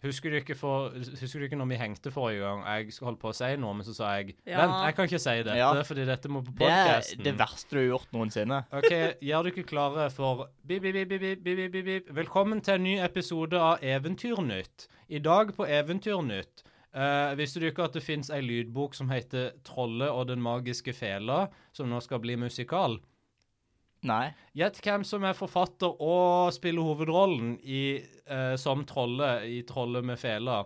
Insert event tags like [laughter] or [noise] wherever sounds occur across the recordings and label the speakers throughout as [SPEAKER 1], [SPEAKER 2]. [SPEAKER 1] Husker du, ikke for, husker du ikke når vi hengte forrige gang? Jeg skulle holdt på å si noe, men så sa jeg
[SPEAKER 2] Ja.
[SPEAKER 1] Vent, jeg kan ikke si dette,
[SPEAKER 3] Ja.
[SPEAKER 1] fordi dette må på
[SPEAKER 3] Det er
[SPEAKER 1] podkasten.
[SPEAKER 3] det verste du har gjort noensinne.
[SPEAKER 1] OK, gjør dere klare for bip, bip, bip, bip, bip, bip, bip, bip. Velkommen til en ny episode av Eventyrnytt. I dag på Eventyrnytt eh, Visste du ikke at det fins ei lydbok som heter 'Trollet og den magiske fela', som nå skal bli musikal?
[SPEAKER 3] Nei.
[SPEAKER 1] Gjett hvem som er forfatter og spiller hovedrollen i, eh, som trollet i 'Trollet med fela'.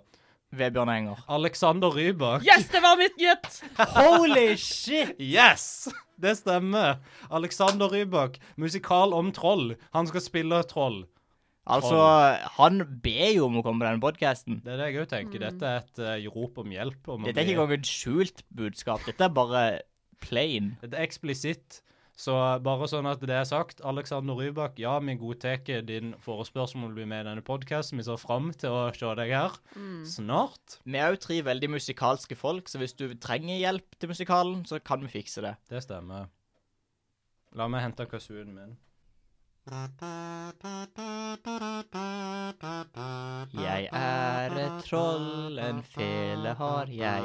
[SPEAKER 3] Vebjørn Enger.
[SPEAKER 1] Alexander Rybak.
[SPEAKER 2] Yes, det var mitt gjett!
[SPEAKER 3] Holy shit!
[SPEAKER 1] Yes! [laughs] Det stemmer. Alexander Rybak, musikal om troll. Han skal spille troll.
[SPEAKER 3] Altså, han ber jo om å komme på denne podkasten.
[SPEAKER 1] Det er det jeg òg tenker. Dette er et eh, rop om hjelp. Om å
[SPEAKER 3] Dette er
[SPEAKER 1] bli-
[SPEAKER 3] ikke engang et skjult budskap. Dette er bare plain.
[SPEAKER 1] Dette er eksplisitt. Så bare sånn at det er sagt, Alexander Rybak, ja, vi godtar din forespørsel om å bli med i denne podkasten. Vi ser fram til å se deg her
[SPEAKER 2] Mm.
[SPEAKER 1] snart.
[SPEAKER 3] Vi er jo tre veldig musikalske folk, så hvis du trenger hjelp til musikalen, så kan vi fikse det.
[SPEAKER 1] Det stemmer. La meg hente kazooen min.
[SPEAKER 3] Jeg er et troll, en fele har jeg.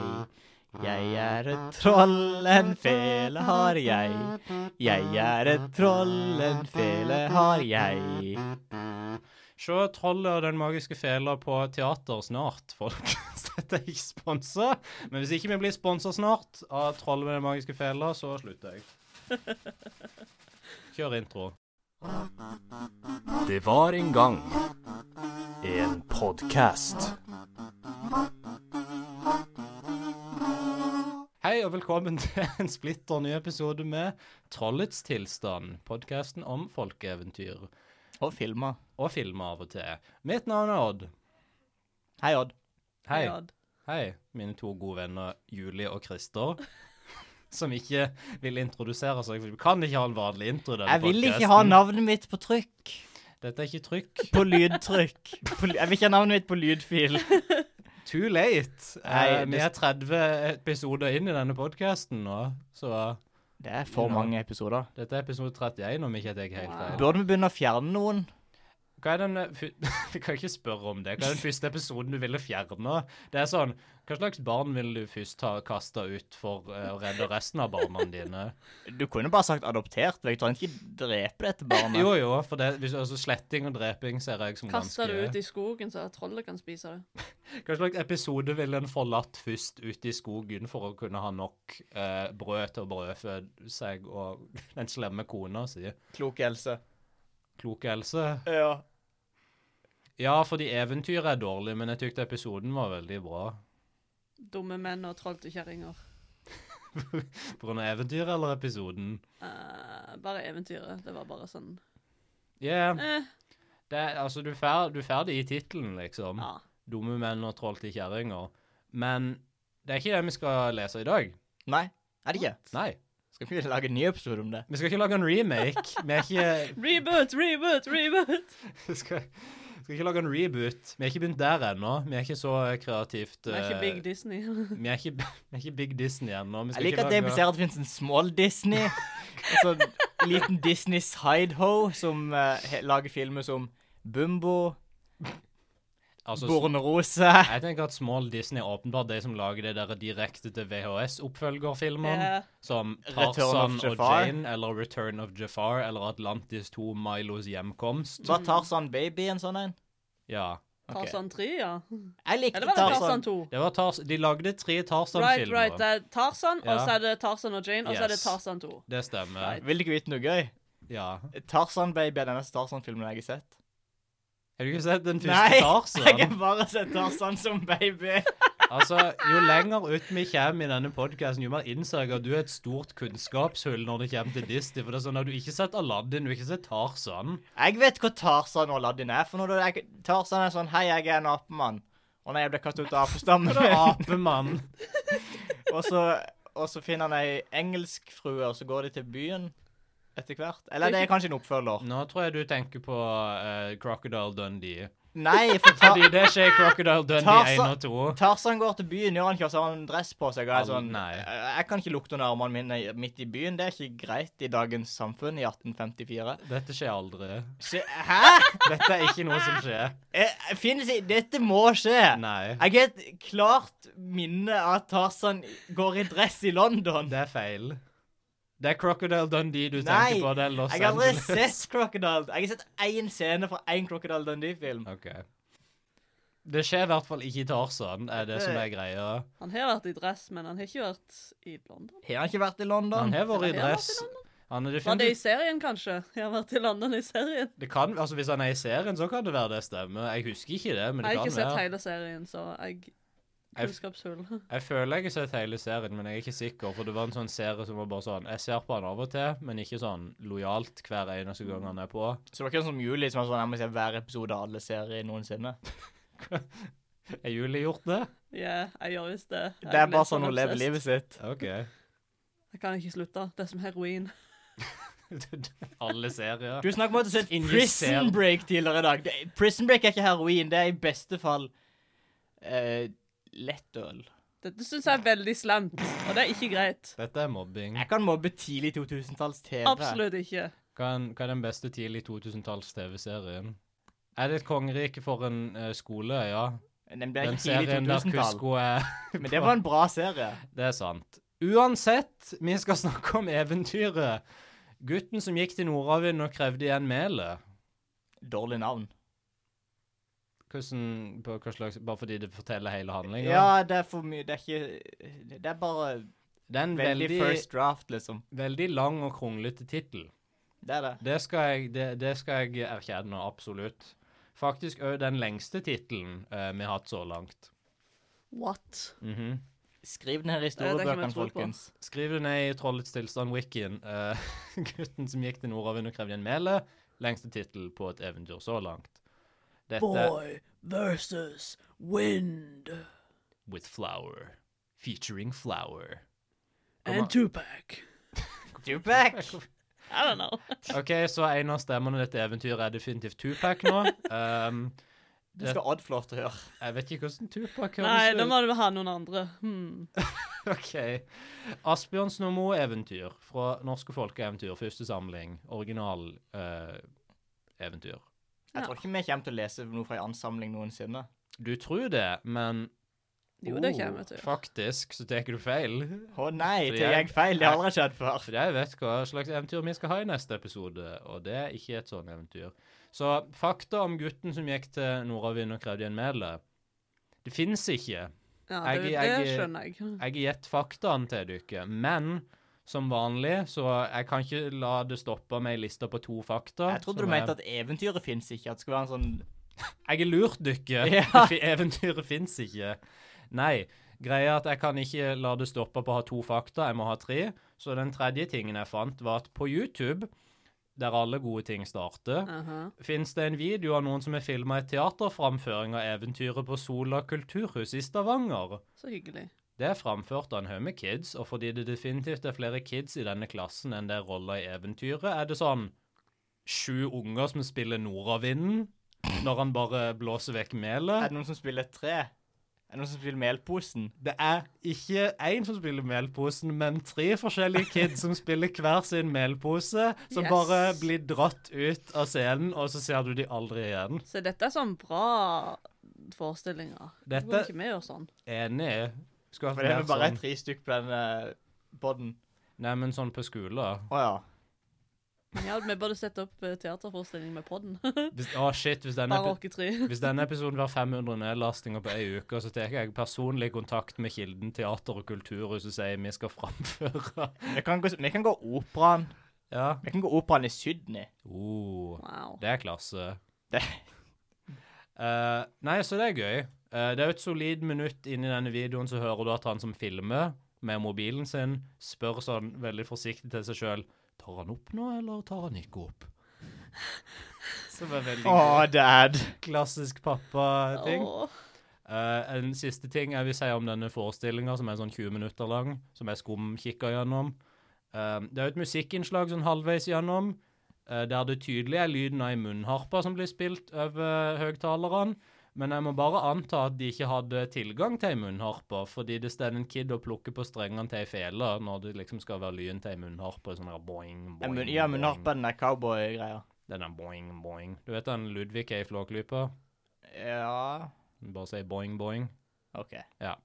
[SPEAKER 3] Jeg er et troll, en fele har jeg. Jeg er et troll, en fele har jeg.
[SPEAKER 1] Se Trollet og den magiske fela på teater snart, [laughs] folkens. Dette er ikke sponsa. Men hvis ikke vi blir sponsa snart av Trollet med den magiske fela, så slutter jeg. Kjør intro.
[SPEAKER 4] Det var en gang en podkast.
[SPEAKER 1] Hei og velkommen til en splitter ny episode med Trollets tilstand. Podkasten om folkeeventyr.
[SPEAKER 3] Og filma.
[SPEAKER 1] Og filmer av og til. Mitt navn er Odd.
[SPEAKER 3] Hei, Odd.
[SPEAKER 1] Hei.
[SPEAKER 2] Ja,
[SPEAKER 1] Hei, mine to gode venner Julie og Christer. [laughs] Som ikke vil introdusere seg. for Vi kan ikke ha en vanlig intro. i denne
[SPEAKER 3] Jeg vil ikke
[SPEAKER 1] podcasten.
[SPEAKER 3] ha navnet mitt på trykk.
[SPEAKER 1] Dette er ikke trykk.
[SPEAKER 3] På lydtrykk. På ly- Jeg vil ikke ha navnet mitt på lydfil.
[SPEAKER 1] Too late.
[SPEAKER 3] Nei,
[SPEAKER 1] Eh, vi
[SPEAKER 3] det-
[SPEAKER 1] er 30 episoder inn i denne podkasten nå, så
[SPEAKER 3] Det er for mange episoder.
[SPEAKER 1] dette er episode 31, om ikke jeg tar helt feil.
[SPEAKER 3] Burde vi begynne å fjerne noen?
[SPEAKER 1] Hva er den eh, fy- [laughs] Vi kan ikke spørre om det. Hva er den første episoden du ville fjerne? Det er sånn Hva slags barn vil du først ha kasta ut for eh, å redde resten av barna dine?
[SPEAKER 3] Du kunne bare sagt adoptert. Jeg trenger ikke drepe dette barnet.
[SPEAKER 1] Jo, jo, for det, hvis, altså, sletting og dreping ser jeg som
[SPEAKER 2] Kaster det ut
[SPEAKER 1] ganske
[SPEAKER 2] i skogen så at trollet kan spise det.
[SPEAKER 1] Hva slags episode ville en forlatt først ute i skogen for å kunne ha nok eh, brød til å brødfø seg og [laughs] den slemme kona si?
[SPEAKER 3] Klok Else.
[SPEAKER 1] Kloke Else?
[SPEAKER 3] Ja.
[SPEAKER 1] Ja, fordi eventyret er dårlig, men jeg tykte episoden var veldig bra.
[SPEAKER 2] Dumme menn og troll til kjerringer.
[SPEAKER 1] På grunn av eventyret eller episoden?
[SPEAKER 2] Eh, bare eventyret. Det var bare sånn
[SPEAKER 1] Ja,
[SPEAKER 2] eh,
[SPEAKER 1] det er- altså, du er fer- du er ferdig i tittelen, liksom.
[SPEAKER 2] ja.
[SPEAKER 1] Dumme menn og troll til kjerringer. Men det er ikke det vi skal lese i dag.
[SPEAKER 3] Nei, er det ikke?
[SPEAKER 1] Nei.
[SPEAKER 3] Skal ikke vi lage en ny episode om det?
[SPEAKER 1] Vi skal ikke lage en remake. Vi er ikke
[SPEAKER 2] Reboot, reboot, reboot!
[SPEAKER 1] [laughs] vi skal, skal ikke lage en reboot. Vi er ikke begynt der ennå. Vi er ikke så kreativt
[SPEAKER 2] Det er ikke
[SPEAKER 1] eh,
[SPEAKER 2] Big Disney.
[SPEAKER 1] vi er ikke, [laughs] vi er ikke Big Disney ennå. Vi skal
[SPEAKER 3] Jeg liker
[SPEAKER 1] ikke
[SPEAKER 3] at det
[SPEAKER 1] lage-
[SPEAKER 3] impliserer at det finnes en small Disney. Altså en liten Disney sideho som eh, he- lager filmer som Bumbo,
[SPEAKER 1] altså,
[SPEAKER 3] Bornerose
[SPEAKER 1] Jeg tenker at Small Disney er åpenbart de som lager det der direkte til VHS-oppfølgerfilmene.
[SPEAKER 2] Eh,
[SPEAKER 1] Som
[SPEAKER 3] Return of
[SPEAKER 1] Tarzan og
[SPEAKER 3] Jafar.
[SPEAKER 1] Jane, eller Return of Jafar, eller Atlantis 2, Milos hjemkomst.
[SPEAKER 3] Var Tarzan Baby en sånn en?
[SPEAKER 1] Ja.
[SPEAKER 3] Ok.
[SPEAKER 2] Tarzan 3, ja.
[SPEAKER 3] Jeg likte
[SPEAKER 2] Eller var det Tarzan
[SPEAKER 3] Tarzan.
[SPEAKER 2] 2?
[SPEAKER 1] Det var Tars de lagde tre
[SPEAKER 2] Right,
[SPEAKER 1] Tarzan-filmer.
[SPEAKER 2] right. Det er Tarzan, og
[SPEAKER 1] Ja.
[SPEAKER 2] så er det Tarzan og Jane, og så er det
[SPEAKER 1] Yes.
[SPEAKER 2] Tarzan 2.
[SPEAKER 1] Det stemmer.
[SPEAKER 2] Right.
[SPEAKER 3] Vil du ikke vite noe gøy?
[SPEAKER 1] Ja.
[SPEAKER 3] Tarzan Baby er den eneste Tarzan-filmen jeg har sett.
[SPEAKER 1] Har du ikke sett den
[SPEAKER 3] Nei,
[SPEAKER 1] første
[SPEAKER 3] [laughs] Jeg har
[SPEAKER 1] Tarzan?
[SPEAKER 3] bare sett Tarzan som baby.
[SPEAKER 1] altså, jo lenger ut vi kommer i denne podkasten, jo mer innser jeg at du er et stort kunnskapshull når det kommer til Disney. For det er sånn at du ikke har sett Aladdin, du har ikke sett Tarzan.
[SPEAKER 3] Jeg vet hva Tarzan og Aladdin er for noe. da Jeg, Tarzan er sånn Hei, jeg er en apemann. Og nei, jeg ble kastet ut av apestammen.
[SPEAKER 1] Det er Apemann.
[SPEAKER 3] [laughs] og, så, og så finner han ei engelsk frue, og så går de til byen etter hvert. Eller det er kanskje en oppfølger.
[SPEAKER 1] Nå tror jeg du tenker på eh, Crocodile Dundee.
[SPEAKER 3] Nei, for ta
[SPEAKER 1] Fordi det skjer i Crocodile Dundee 1
[SPEAKER 3] Tarzan-
[SPEAKER 1] og 2.
[SPEAKER 3] Tarzan går til byen, gjør han ikke, og så har han dress på seg. Og er
[SPEAKER 1] Alle-
[SPEAKER 3] sånn,
[SPEAKER 1] nei.
[SPEAKER 3] «Eh, jeg kan ikke lukte under armene mine i- midt i byen. Det er ikke greit i dagens samfunn i 1854.
[SPEAKER 1] Dette skjer aldri.
[SPEAKER 3] Skje- Hæ?!
[SPEAKER 1] Dette er ikke noe som skjer.
[SPEAKER 3] Eh, Finnes i Dette må skje!
[SPEAKER 1] Nei.
[SPEAKER 3] Jeg har et klart minne av at Tarzan går i dress i London.
[SPEAKER 1] Det er feil. Det er Crocodile Dundee du
[SPEAKER 3] Nei,
[SPEAKER 1] tenker på. Det er Los
[SPEAKER 3] Jeg har aldri
[SPEAKER 1] Angeles.
[SPEAKER 3] sett Crocodile. Jeg har sett én scene fra én Crocodile Dundee-film.
[SPEAKER 1] OK. Det skjer i hvert fall ikke i Tarzan, er det som er greia.
[SPEAKER 2] Han har vært i dress, men han har ikke vært i London.
[SPEAKER 3] Har han ikke vært i London?
[SPEAKER 1] Han har vært i
[SPEAKER 2] Har han vært i
[SPEAKER 1] dress. Han er
[SPEAKER 2] Var det i
[SPEAKER 1] definitivt
[SPEAKER 2] serien, kanskje? Har han vært i London i serien?
[SPEAKER 1] det kan, altså Hvis han er i serien, så kan det være det stemmer. Jeg husker ikke det, men det
[SPEAKER 2] Jeg har ikke
[SPEAKER 1] kan
[SPEAKER 2] sett
[SPEAKER 1] være.
[SPEAKER 2] hele serien, så jeg
[SPEAKER 1] Jeg-
[SPEAKER 2] Kunnskapshull.
[SPEAKER 1] Jeg føler jeg har sett hele serien, men jeg er ikke sikker. For det var en sånn serie som var bare sånn Jeg ser på han av og til, men ikke sånn lojalt hver eneste gang han er på.
[SPEAKER 3] Så det var ikke sånn som Julie, som er sånn, jeg må se hver episode av alle serier noensinne.
[SPEAKER 1] Er Julie gjort det?
[SPEAKER 2] Ja, jeg gjør visst det. Jeg
[SPEAKER 3] Det er
[SPEAKER 2] blir
[SPEAKER 3] bare sånn hun lever
[SPEAKER 2] obsessed.
[SPEAKER 3] livet sitt.
[SPEAKER 1] OK. [laughs]
[SPEAKER 2] Jeg kan ikke slutte. Det er som heroin.
[SPEAKER 1] Alle serier.
[SPEAKER 3] Du snakker om å se
[SPEAKER 1] Injiser-
[SPEAKER 3] Prison Break tidligere i dag. Det, prison Break er ikke heroin, det er i beste fall uh, lettøl.
[SPEAKER 2] Dette syns jeg er veldig slemt, og det er ikke greit.
[SPEAKER 1] Dette er mobbing.
[SPEAKER 3] Jeg kan mobbe tidlig 2000-talls TV.
[SPEAKER 2] Absolutt ikke.
[SPEAKER 1] Hva er, hva er den beste tidlig 2000-talls TV-serien? Er det et kongerike for en eh, skole, ja?
[SPEAKER 3] Den ble
[SPEAKER 1] Den
[SPEAKER 3] ikke tidlig
[SPEAKER 1] serien der
[SPEAKER 3] 2000-tall.
[SPEAKER 1] Kusko er
[SPEAKER 3] Men det var en bra serie.
[SPEAKER 1] Det er sant. Uansett, vi skal snakke om eventyret. Gutten som gikk til Nordavind og krevde igjen melet.
[SPEAKER 3] Dårlig navn.
[SPEAKER 1] Hvordan, på hva slags, bare fordi det forteller hele handlinga.
[SPEAKER 3] Ja, det er for mye Det er ikke Det er bare
[SPEAKER 1] det er en
[SPEAKER 3] veldig,
[SPEAKER 1] veldig,
[SPEAKER 3] first draft, liksom.
[SPEAKER 1] veldig lang og kronglete tittel.
[SPEAKER 3] Det er det.
[SPEAKER 1] Det, skal jeg- det, det skal jeg erkjenne, absolutt. Faktisk òg den lengste tittelen eh, vi har hatt så langt.
[SPEAKER 2] What?
[SPEAKER 1] Mhm.
[SPEAKER 3] Skriv den her i
[SPEAKER 2] det kan
[SPEAKER 3] historiebøkene,
[SPEAKER 2] vi tro på.
[SPEAKER 3] folkens.
[SPEAKER 1] Skriv det ned i Trollets tilstand-wikien. eh, [laughs] gutten som gikk til Nordavind og krevde en mele. Lengste tittel på et eventyr så langt. Dette
[SPEAKER 2] versus wind
[SPEAKER 1] with flower. Featuring flower.
[SPEAKER 2] and Tupac.
[SPEAKER 3] [laughs] Tupac!
[SPEAKER 2] I don't know.
[SPEAKER 1] OK, så en av stemmene i dette eventyret er definitivt Tupac [laughs] nå. Um,
[SPEAKER 3] Det skal Odd få lov til å høre.
[SPEAKER 1] jeg vet ikke hvordan Tupac
[SPEAKER 2] Nei, da
[SPEAKER 1] høres ut.
[SPEAKER 2] må du ha noen andre. Hmm.
[SPEAKER 1] OK. Asbjørnsen og Moe-eventyr fra Norske folkeeventyr, første samling. Original eh, eventyr.
[SPEAKER 3] Jeg
[SPEAKER 2] Ja.
[SPEAKER 3] tror ikke vi kommer til å lese noe fra en ansamling noensinne.
[SPEAKER 1] Du tror det, men
[SPEAKER 2] Jo, det
[SPEAKER 1] Oh,
[SPEAKER 2] kommer jeg til.
[SPEAKER 1] Faktisk så tar du feil.
[SPEAKER 3] Å nei,
[SPEAKER 1] Fordi
[SPEAKER 3] til
[SPEAKER 1] jeg-
[SPEAKER 3] jeg feil. Det har aldri skjedd før.
[SPEAKER 1] For jeg vet hva slags eventyr vi skal ha i neste episode, og det er ikke et sånt eventyr. Så fakta om gutten som gikk til Nordavind og krevde igjen melet, det fins ikke.
[SPEAKER 2] Ja,
[SPEAKER 1] Jeg-
[SPEAKER 2] det,
[SPEAKER 1] jeg-
[SPEAKER 2] det skjønner jeg.
[SPEAKER 1] Jeg har gitt faktaen til dere, men som vanlig, så jeg kan ikke la det stoppe med ei liste på to fakta.
[SPEAKER 3] Jeg trodde du mente at eventyret fins ikke. At det skulle være en sånn
[SPEAKER 1] Jeg har lurt dere.
[SPEAKER 3] Ja.
[SPEAKER 1] Fi- Eventyret fins ikke. Nei. Greia er at jeg kan ikke la det stoppe på å ha to fakta, jeg må ha tre. Så den tredje tingen jeg fant, var at på YouTube, der alle gode ting starter,
[SPEAKER 2] Aha.
[SPEAKER 1] Fins det en video av noen som har filma en teaterframføring av eventyret på Sola kulturhus i Stavanger?
[SPEAKER 2] Så hyggelig.
[SPEAKER 1] Det er framført av en haug med kids, og fordi det definitivt er flere kids i denne klassen enn det er roller i eventyret, er det sånn sju unger som spiller nordavinden når han bare blåser vekk
[SPEAKER 3] Er
[SPEAKER 1] melet.
[SPEAKER 3] det noen som spiller et tre? Er det noen som spiller Melposen?
[SPEAKER 1] Det er ikke én som spiller melposen, men tre forskjellige kids som spiller hver sin melpose, som
[SPEAKER 2] Yes.
[SPEAKER 1] bare blir dratt ut av scenen, og så ser du de aldri igjen.
[SPEAKER 2] Så dette er sånn bra forestillinger.
[SPEAKER 1] Dette-
[SPEAKER 2] Hvorfor kan ikke vi gjøre sånn?
[SPEAKER 1] Enig. Skulle
[SPEAKER 3] For det er
[SPEAKER 1] hatt
[SPEAKER 3] vel
[SPEAKER 1] mer
[SPEAKER 3] bare
[SPEAKER 1] sånn.
[SPEAKER 3] tre stykk på den uh, boden.
[SPEAKER 1] Nei, men sånn på skolen.
[SPEAKER 3] Å ja.
[SPEAKER 2] Ja, vi burde sette opp eh, teaterforestilling med podden.
[SPEAKER 1] Hvis, å, shit, hvis denne,
[SPEAKER 2] Bare
[SPEAKER 1] epi-
[SPEAKER 2] åke tre.
[SPEAKER 1] hvis denne episoden var 500 nedlastinger på ei uke, så tar jeg personlig kontakt med Kilden teater og kulturhus og sier vi skal framføre. [laughs]
[SPEAKER 3] Vi kan gå, vi kan gå operaen.
[SPEAKER 1] Ja.
[SPEAKER 3] Vi kan gå operaen i Sydney.
[SPEAKER 1] Oh,
[SPEAKER 2] Wow.
[SPEAKER 1] det er klasse.
[SPEAKER 3] Det-
[SPEAKER 1] Eh, nei, så det er gøy. Eh, det er jo et solid minutt inn i denne videoen, så hører du at han som filmer med mobilen sin, spør sånn veldig forsiktig til seg sjøl Tar han opp nå, eller tar han ikke opp? [laughs] Som er veldig
[SPEAKER 3] Å, dad.
[SPEAKER 1] klassisk pappa-ting.
[SPEAKER 2] Åh.
[SPEAKER 1] Eh, en siste ting jeg vil si om denne forestillinga, som er sånn 20 minutter lang, som jeg skumkikka gjennom. Eh, det er jo et musikkinnslag sånn halvveis gjennom. eh, der det tydelig er lyden av ei munnharpe som blir spilt over høyttalerne. Men jeg må bare anta at de ikke hadde tilgang til ei munnharpe, fordi det står en kid og plukker på strengene til ei fele når det liksom skal være lyden til ei munnharpe. Sånn der boing,
[SPEAKER 3] Ja,
[SPEAKER 1] boing,
[SPEAKER 3] men- Ja, men
[SPEAKER 1] boing.
[SPEAKER 3] narpa den der cowboy-greia.
[SPEAKER 1] Den der boing, boing. Du vet den Ludvig er i Flåklypa?
[SPEAKER 3] Ja
[SPEAKER 1] Den Bare sier boing, boing.
[SPEAKER 3] OK.
[SPEAKER 1] Det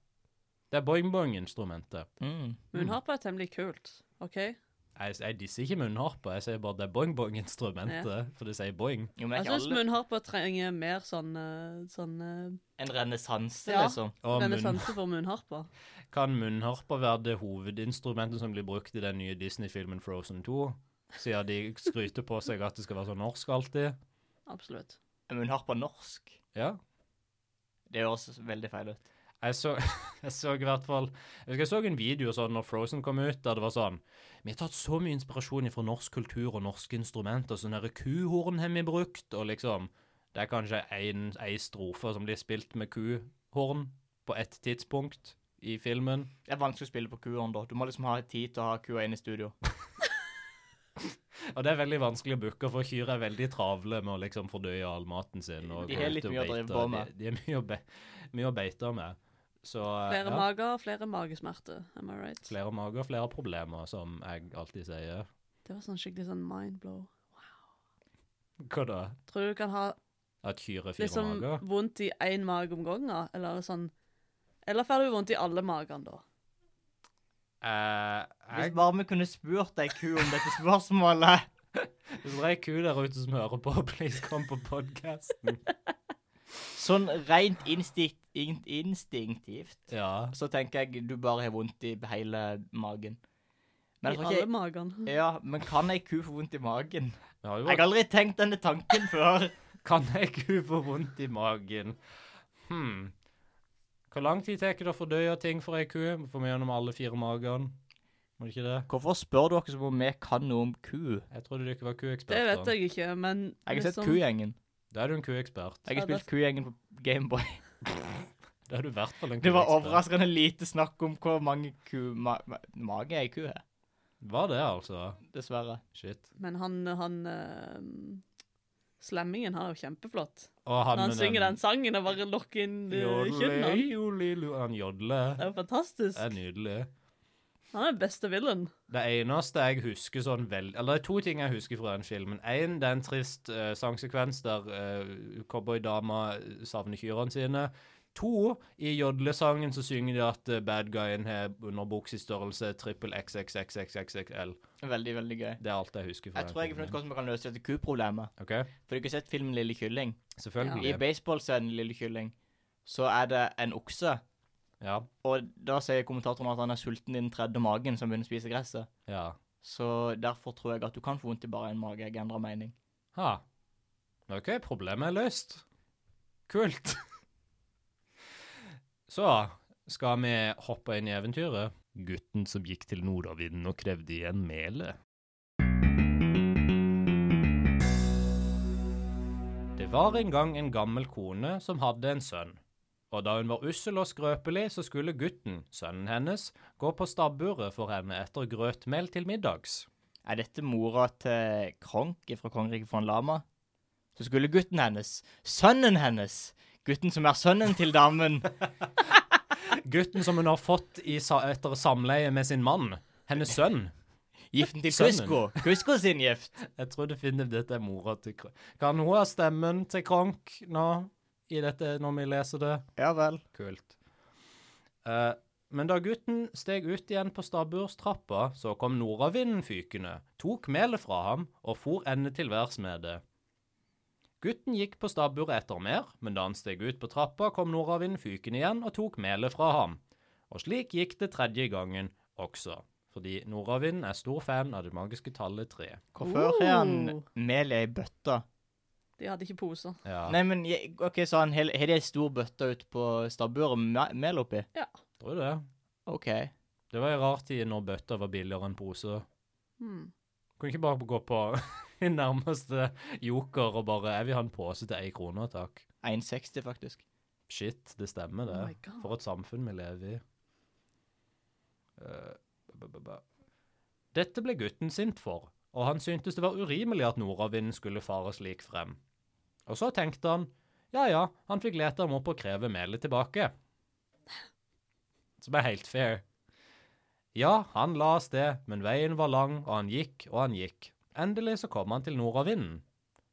[SPEAKER 1] er boing, boing-instrumentet.
[SPEAKER 3] Mm.
[SPEAKER 2] Munnharpe er temmelig kult, OK?
[SPEAKER 1] Jeg, jeg disser ikke munnharpa, jeg sier bare det er boing, boing-instrumentet, for det sier boing.
[SPEAKER 3] Jo, men
[SPEAKER 2] Jeg
[SPEAKER 3] det er
[SPEAKER 2] syns
[SPEAKER 3] ikke alle
[SPEAKER 2] munnharpe trenger mer sånn, eh, sånn eh,
[SPEAKER 3] En renessanse,
[SPEAKER 2] Ja.
[SPEAKER 3] liksom.
[SPEAKER 1] Og munn,
[SPEAKER 2] renessanse for munnharper.
[SPEAKER 1] kan munnharpa være det hovedinstrumentet som blir brukt i den nye Disney-filmen Frozen 2? Siden de skryter på seg at det skal være så norsk alltid.
[SPEAKER 2] Absolutt.
[SPEAKER 3] Er munnharpa norsk?
[SPEAKER 1] Ja.
[SPEAKER 3] Det høres veldig feil ut.
[SPEAKER 1] Jeg så, [laughs] jeg så i hvert fall Jeg husker jeg så en video sånn når Frozen kom ut, der det var sånn Vi har tatt så mye inspirasjon fra norsk kultur og norske instrumenter. Sånn derre kuhorn har vi brukt, og liksom Det er kanskje en- ei strofe som blir spilt med kuhorn på ett tidspunkt i filmen.
[SPEAKER 3] Det er vanskelig å spille på kuhorn, da. Du må liksom ha tid til å ha kua inn i studio.
[SPEAKER 1] Og det er veldig vanskelig å booke, for kyr er veldig travle med å liksom fordøye all maten sin. Og
[SPEAKER 3] De
[SPEAKER 1] gå
[SPEAKER 3] har
[SPEAKER 1] ut
[SPEAKER 3] litt
[SPEAKER 1] og
[SPEAKER 3] mye å
[SPEAKER 1] beite,
[SPEAKER 3] drive på
[SPEAKER 1] og
[SPEAKER 3] med.
[SPEAKER 1] De, de er mye å, be, mye å beite med. Så eh,
[SPEAKER 2] Flere mager, flere magesmerter. Am I right?
[SPEAKER 1] flere mager, flere problemer, som jeg alltid sier.
[SPEAKER 2] Det var sånn skikkelig sånn mindblow.
[SPEAKER 1] Hva da?
[SPEAKER 2] Tror du du kan ha
[SPEAKER 1] At kyr er fire
[SPEAKER 2] liksom
[SPEAKER 1] mager?
[SPEAKER 2] vondt i én mage om gangen? Eller er det sånn Eller får du vondt i alle magene da?
[SPEAKER 1] Eh,
[SPEAKER 3] Hvis
[SPEAKER 1] jeg,
[SPEAKER 3] bare vi kunne spurt ei ku om dette spørsmålet [laughs]
[SPEAKER 1] hvis det er ei ku der ute som hører på, [laughs] please kom på
[SPEAKER 2] [laughs]
[SPEAKER 1] podkasten.
[SPEAKER 3] sånn rent instinkt, in, instinktivt,
[SPEAKER 1] Ja.
[SPEAKER 3] så tenker jeg du bare har vondt i hele magen.
[SPEAKER 2] I
[SPEAKER 3] Men jeg tror
[SPEAKER 2] alle
[SPEAKER 3] ikke
[SPEAKER 2] magene?
[SPEAKER 3] Ja, men kan ei ku få vondt i magen?
[SPEAKER 1] Vi har jo
[SPEAKER 3] Jeg har aldri tenkt denne tanken før.
[SPEAKER 1] Kan ei ku få vondt i magen? Hm. Hvor lang tid tar det å fordøye ting for ei ku? Får vi gjennom alle fire magene? Må det ikke det?
[SPEAKER 3] Hvorfor spør dere som om vi kan noe om ku?
[SPEAKER 1] Jeg trodde du ikke var
[SPEAKER 2] Det
[SPEAKER 1] kueksperter.
[SPEAKER 2] vet jeg ikke, men
[SPEAKER 3] Jeg har sett
[SPEAKER 2] liksom-
[SPEAKER 3] Kugjengen.
[SPEAKER 1] Da er du en kuekspert.
[SPEAKER 3] Jeg har
[SPEAKER 2] Ja, det er
[SPEAKER 3] spilt Kugjengen på Gameboy.
[SPEAKER 1] Da er du i hvert fall en
[SPEAKER 3] Det var
[SPEAKER 1] kuekspert.
[SPEAKER 3] overraskende lite snakk om hvor mange ku... Ma ma- mage ei ku har,
[SPEAKER 1] Var det, altså?
[SPEAKER 3] dessverre.
[SPEAKER 1] Shit.
[SPEAKER 2] Men han, han ehm, Slemmingen, han er jo kjempeflott.
[SPEAKER 1] Og
[SPEAKER 2] Når
[SPEAKER 1] han,
[SPEAKER 2] han
[SPEAKER 1] med
[SPEAKER 2] synger den sangen og bare lokker inn eh, kjønnet.
[SPEAKER 1] Jodle,
[SPEAKER 2] han.
[SPEAKER 1] jodle, jodle. Han jodler.
[SPEAKER 2] Det er jo
[SPEAKER 1] Det er
[SPEAKER 2] fantastisk.
[SPEAKER 1] nydelig.
[SPEAKER 2] Han er den beste villain.
[SPEAKER 1] Det eneste jeg husker sånn veldig Eller det er to ting jeg husker fra den filmen. Én, det er en trist eh, sangsekvens der eh, cowboydama eh, savner kyrne sine. To, i jodlesangen så synger de at eh, bad guyen har underbukse i størrelse trippel XXXXXXL.
[SPEAKER 3] Veldig, veldig gøy.
[SPEAKER 1] Det er alt jeg husker fra
[SPEAKER 3] Jeg tror jeg har funnet ut hvordan vi kan løse dette kuproblemet.
[SPEAKER 1] Ok,
[SPEAKER 3] For dere har sett filmen Lille kylling. I
[SPEAKER 1] Selvfølgelig.
[SPEAKER 3] baseballscenen Lille kylling så er det en okse,
[SPEAKER 1] Ja.
[SPEAKER 3] og da sier kommentatoren at han er sulten i den tredje magen som begynner å spise gresset.
[SPEAKER 1] ja.
[SPEAKER 3] Så derfor tror jeg at du kan få vondt i bare en mage. Jeg endrer mening.
[SPEAKER 1] Ha. OK, problemet er løst. Kult. [laughs] Så skal vi hoppe inn i eventyret. Gutten som gikk til nordavinden og krevde igjen melet. Det var en gang en gammel kone som hadde en sønn. Og da hun var ussel og skrøpelig, så skulle gutten, sønnen hennes, gå på stabburet for henne etter grøtmel til middags.
[SPEAKER 3] Er dette mora til Kronk fra kongeriket von Lama? Så skulle gutten hennes, sønnen hennes, gutten som er sønnen til damen
[SPEAKER 1] Gutten som hun har fått i sa etter samleie med sin mann, hennes sønn.
[SPEAKER 3] Giften til
[SPEAKER 1] Sønnen.
[SPEAKER 3] Kusko. Kusko sin gift.
[SPEAKER 1] Jeg tror definitivt dette er mora til Kronk. Kan hun ha stemmen til Kronk nå, i dette, når vi leser det?
[SPEAKER 3] Ja vel.
[SPEAKER 1] Kult. Eh, men da gutten steg ut igjen på stabburstrappa, så kom nordavinden fykende, tok melet fra ham og for ende til værs med det. Gutten gikk på stabburet etter mer, men da han steg ut på trappa, kom nordavinden fykende igjen og tok melet fra ham. Og slik gikk det tredje gangen også, fordi nordavinden er stor fan av det magiske tallet tre.
[SPEAKER 3] Hvorfor har han
[SPEAKER 2] Oh.
[SPEAKER 3] melet i ei bøtte?
[SPEAKER 2] De hadde ikke poser.
[SPEAKER 1] Ja,
[SPEAKER 3] Nei, men jeg- OK, så han hel- har de ei stor bøtte ute på stabburet med me- mel oppi?
[SPEAKER 1] tror du det?
[SPEAKER 3] OK.
[SPEAKER 1] Det var ei rar tid når bøtta var billigere enn pose.
[SPEAKER 2] Hmm.
[SPEAKER 1] Kan ikke bare gå på [laughs] nærmeste joker og bare Jeg vil ha en pose til én krone, takk.
[SPEAKER 3] 1,60 faktisk.
[SPEAKER 1] Shit, det stemmer,
[SPEAKER 2] Oh my
[SPEAKER 1] det.
[SPEAKER 2] God.
[SPEAKER 1] For et samfunn vi lever i. Eh, ba, ba, ba, ba. Dette ble gutten sint for, og han syntes det var urimelig at nordavinden skulle fare slik frem. Og så tenkte han, ja ja, han fikk lete ham opp og kreve melet tilbake. Som er helt fair. Ja, han la av sted, men veien var lang, og han gikk og han gikk. Endelig så kom han til nordavinden.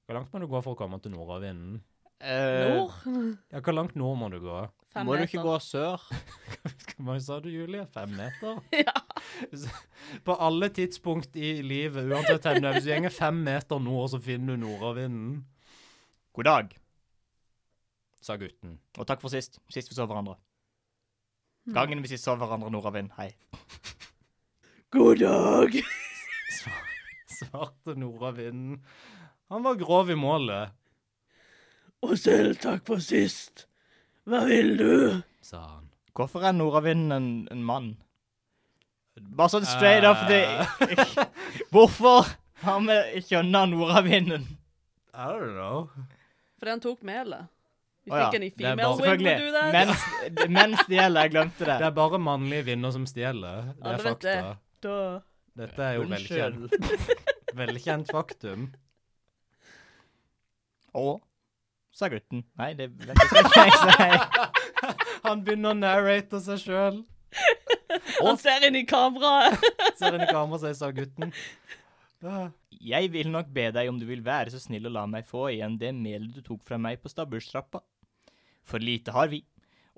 [SPEAKER 1] Hvor langt må du gå for å komme til nordavinden?
[SPEAKER 3] Eh,
[SPEAKER 2] Nord? [laughs]
[SPEAKER 1] Ja, hvor langt nord må du gå?
[SPEAKER 2] Fem
[SPEAKER 3] må du
[SPEAKER 2] meter.
[SPEAKER 3] ikke gå sør?
[SPEAKER 1] Hvor mange sa du, Julie? Fem meter?
[SPEAKER 2] [laughs]
[SPEAKER 1] [laughs]
[SPEAKER 2] Ja.
[SPEAKER 1] På alle tidspunkt i livet, uansett hvor hvis du gjenger fem meter nord, så finner du nordavinden,
[SPEAKER 3] God dag,
[SPEAKER 1] sa gutten.
[SPEAKER 3] og takk for sist. Sist vi så hverandre.
[SPEAKER 2] Mm.
[SPEAKER 3] Gangen vi sist så hverandre, nordavind. Hei.
[SPEAKER 2] God dag!
[SPEAKER 1] Svarte nordavinden. Han var grov i målet,
[SPEAKER 2] Og selv takk for sist. Hva vil du?
[SPEAKER 1] sa han.
[SPEAKER 3] Hvorfor er nordavinden en, en mann? Bare sånn straight up det
[SPEAKER 1] Ah.
[SPEAKER 3] [laughs] Hvorfor har vi kjønna nordavinden?
[SPEAKER 1] I don't know.
[SPEAKER 2] Fordi han tok melet. Vi
[SPEAKER 3] Å ja,
[SPEAKER 2] fikk en i
[SPEAKER 1] det er
[SPEAKER 2] female
[SPEAKER 1] bare-
[SPEAKER 2] wing, would do
[SPEAKER 3] Selvfølgelig.
[SPEAKER 2] that.
[SPEAKER 3] Mens, mens det gjelder, jeg glemte
[SPEAKER 1] Det
[SPEAKER 3] det.
[SPEAKER 1] er bare mannlige vinner som stjeler. Det
[SPEAKER 2] Ja,
[SPEAKER 1] er
[SPEAKER 2] det vet
[SPEAKER 1] fakta.
[SPEAKER 2] jeg. Da-
[SPEAKER 1] Dette er jo velkjent. Velkjent faktum.
[SPEAKER 3] Å, sa gutten. Nei, det vet jeg skal ikke jeg si.
[SPEAKER 1] Han begynner å narrate seg sjøl.
[SPEAKER 2] Han ser inn i kameraet. [laughs]
[SPEAKER 1] Ser inn i kameraet seg, sa gutten. Ja.
[SPEAKER 3] Jeg vil nok be deg om du vil være så snill å la meg få igjen det melet du tok fra meg på stabburstrappa. For lite har vi,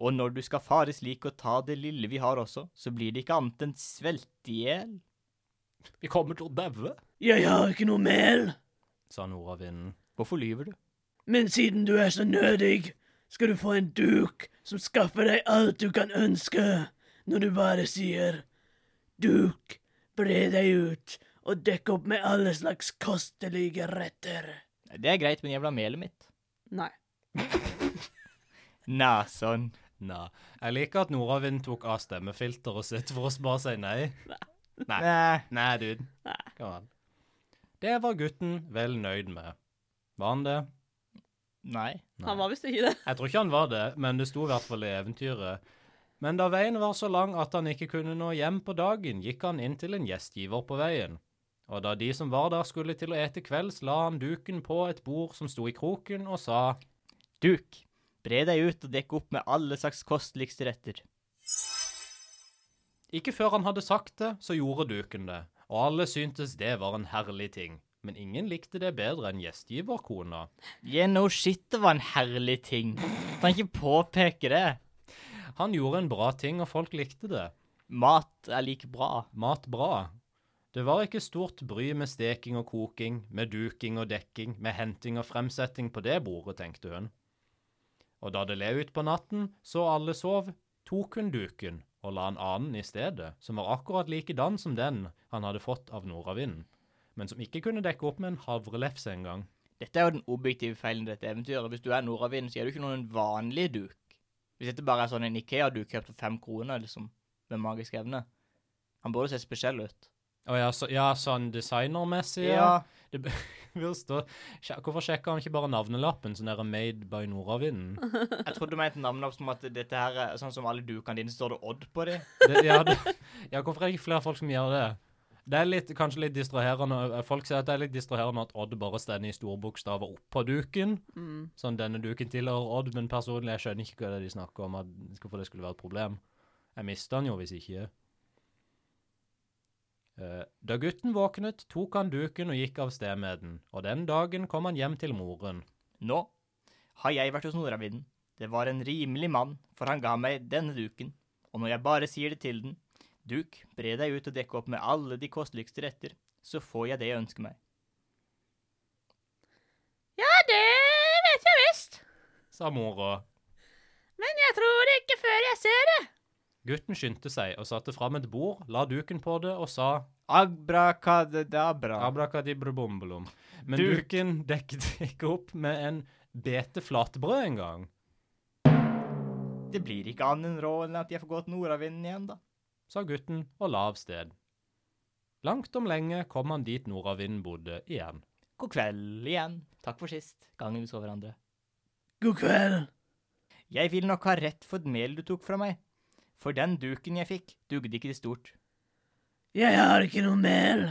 [SPEAKER 3] og når du skal fare slik og ta det lille vi har også, så blir det ikke annet enn svelte i hjel.
[SPEAKER 1] Vi kommer til å daue,
[SPEAKER 5] Jeg har ikke noe mel,
[SPEAKER 1] sa nordavinden.
[SPEAKER 3] Hvorfor lyver du?
[SPEAKER 5] men siden du er så nødig, skal du få en duk som skaffer deg alt du kan ønske, når du bare sier duk, bre deg ut og dekk opp med alle slags kostelige retter.
[SPEAKER 3] Det er greit, men jeg vil ha melet mitt.
[SPEAKER 2] Nei.
[SPEAKER 3] Nei, sånn.
[SPEAKER 1] Nei. Jeg liker at Nordavind tok av stemmefilteret sitt for å bare si nei. Nei.
[SPEAKER 3] Nei.
[SPEAKER 1] Nei, dude.
[SPEAKER 2] Nei.
[SPEAKER 1] Kom an. Det var gutten vel nøyd med. Var han det?
[SPEAKER 3] Nei.
[SPEAKER 2] Han var visst ikke det.
[SPEAKER 1] Jeg tror ikke han var det, men det sto i hvert fall i eventyret. Men da veien var så lang at han ikke kunne nå hjem på dagen, gikk han inn til en gjestgiver på veien. Og da de som var der skulle til å ete kvelds, la han duken på et bord som sto i kroken, og sa
[SPEAKER 3] Duk. Bre deg ut og dekk opp med alle slags kosteligste retter.
[SPEAKER 1] Ikke før han hadde sagt det, så gjorde duken det, og alle syntes det var en herlig ting. Men ingen likte det bedre enn gjestgiverkona.
[SPEAKER 3] Yeah, no shit, det var en herlig ting. Kan ikke påpeke det.
[SPEAKER 1] Han gjorde en bra ting, og folk likte det.
[SPEAKER 3] Mat er like bra.
[SPEAKER 1] Mat bra. Det var ikke stort bry med steking og koking, med duking og dekking, med henting og fremsetting på det bordet, tenkte hun. Og da det le ut på natten, så alle sov, tok hun duken og la en annen i stedet, som var akkurat likedan som den han hadde fått av nordavinden, men som ikke kunne dekke opp med en havrelefse engang.
[SPEAKER 3] Dette er jo den objektive feilen i dette eventyret. Hvis du er nordavind, så er du ikke noen vanlig duk. Hvis dette bare er sånn en Ikea-duk kjøpt for fem kroner, liksom, med magisk evne. Han burde se spesiell ut.
[SPEAKER 1] Å ja, så, ja, sånn designermessig? [laughs] Det b- vil stå Sja- Hvorfor sjekka han ikke bare navnelappen, sånn der 'Made by Nordavinden'?
[SPEAKER 3] [laughs] Jeg trodde du mente navnet opp som at dette her er sånn som alle dukene dine, så står det Odd på dem.
[SPEAKER 1] Det- Ja, det- ja, hvorfor er det ikke flere folk som gjør det? Det er litt, kanskje litt distraherende eh, Folk sier at det er litt distraherende at Odd bare stender i store bokstaver oppå duken.
[SPEAKER 2] Mm.
[SPEAKER 1] Sånn, denne duken tilhører Odd, men personlig, jeg skjønner ikke hva det er de snakker om, at, hvorfor det skulle være et problem. Jeg mister han jo hvis ikke. Eh, Da gutten våknet, tok han duken og gikk av sted med den, og den dagen kom han hjem til moren.
[SPEAKER 3] Nå har jeg vært hos nordavinden. Det var en rimelig mann, for han ga meg denne duken. Og når jeg bare sier det til den, duk, bre deg ut og dekk opp med alle de kosteligste retter, så får jeg det jeg ønsker meg.
[SPEAKER 2] Ja, det vet jeg visst.
[SPEAKER 1] sa mora.
[SPEAKER 2] Men jeg tror det ikke før jeg ser det.
[SPEAKER 1] Gutten skyndte seg og satte fram et bord, la duken på det og sa
[SPEAKER 3] Abrakadabra.
[SPEAKER 1] abrakadibrubombolom. Men
[SPEAKER 3] Duk.
[SPEAKER 1] duken dekket [laughs] ikke opp med en bete flatbrød engang,
[SPEAKER 3] Det blir ikke annet enn råd enn at jeg får gå til nordavinden igjen, da.
[SPEAKER 1] sa gutten og la av sted. Langt om lenge kom han dit nordavinden bodde igjen.
[SPEAKER 3] God kveld igjen. Takk for sist. Gangen vi så hverandre.
[SPEAKER 5] God kveld.
[SPEAKER 3] Jeg vil nok ha rett for melet du tok fra meg. For den duken jeg fikk, dugde ikke til stort.
[SPEAKER 5] Jeg har ikke noe mel,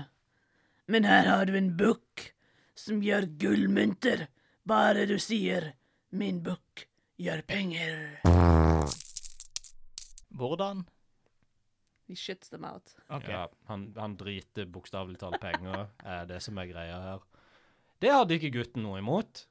[SPEAKER 5] men her har du en bukk som gjør gullmynter, bare du sier 'min bukk gjør penger'.
[SPEAKER 3] Hvordan?
[SPEAKER 2] He shits them out.
[SPEAKER 3] Ok.
[SPEAKER 1] Ja, han, han driter bokstavelig talt penger, er det som er greia her. Det hadde ikke gutten noe imot.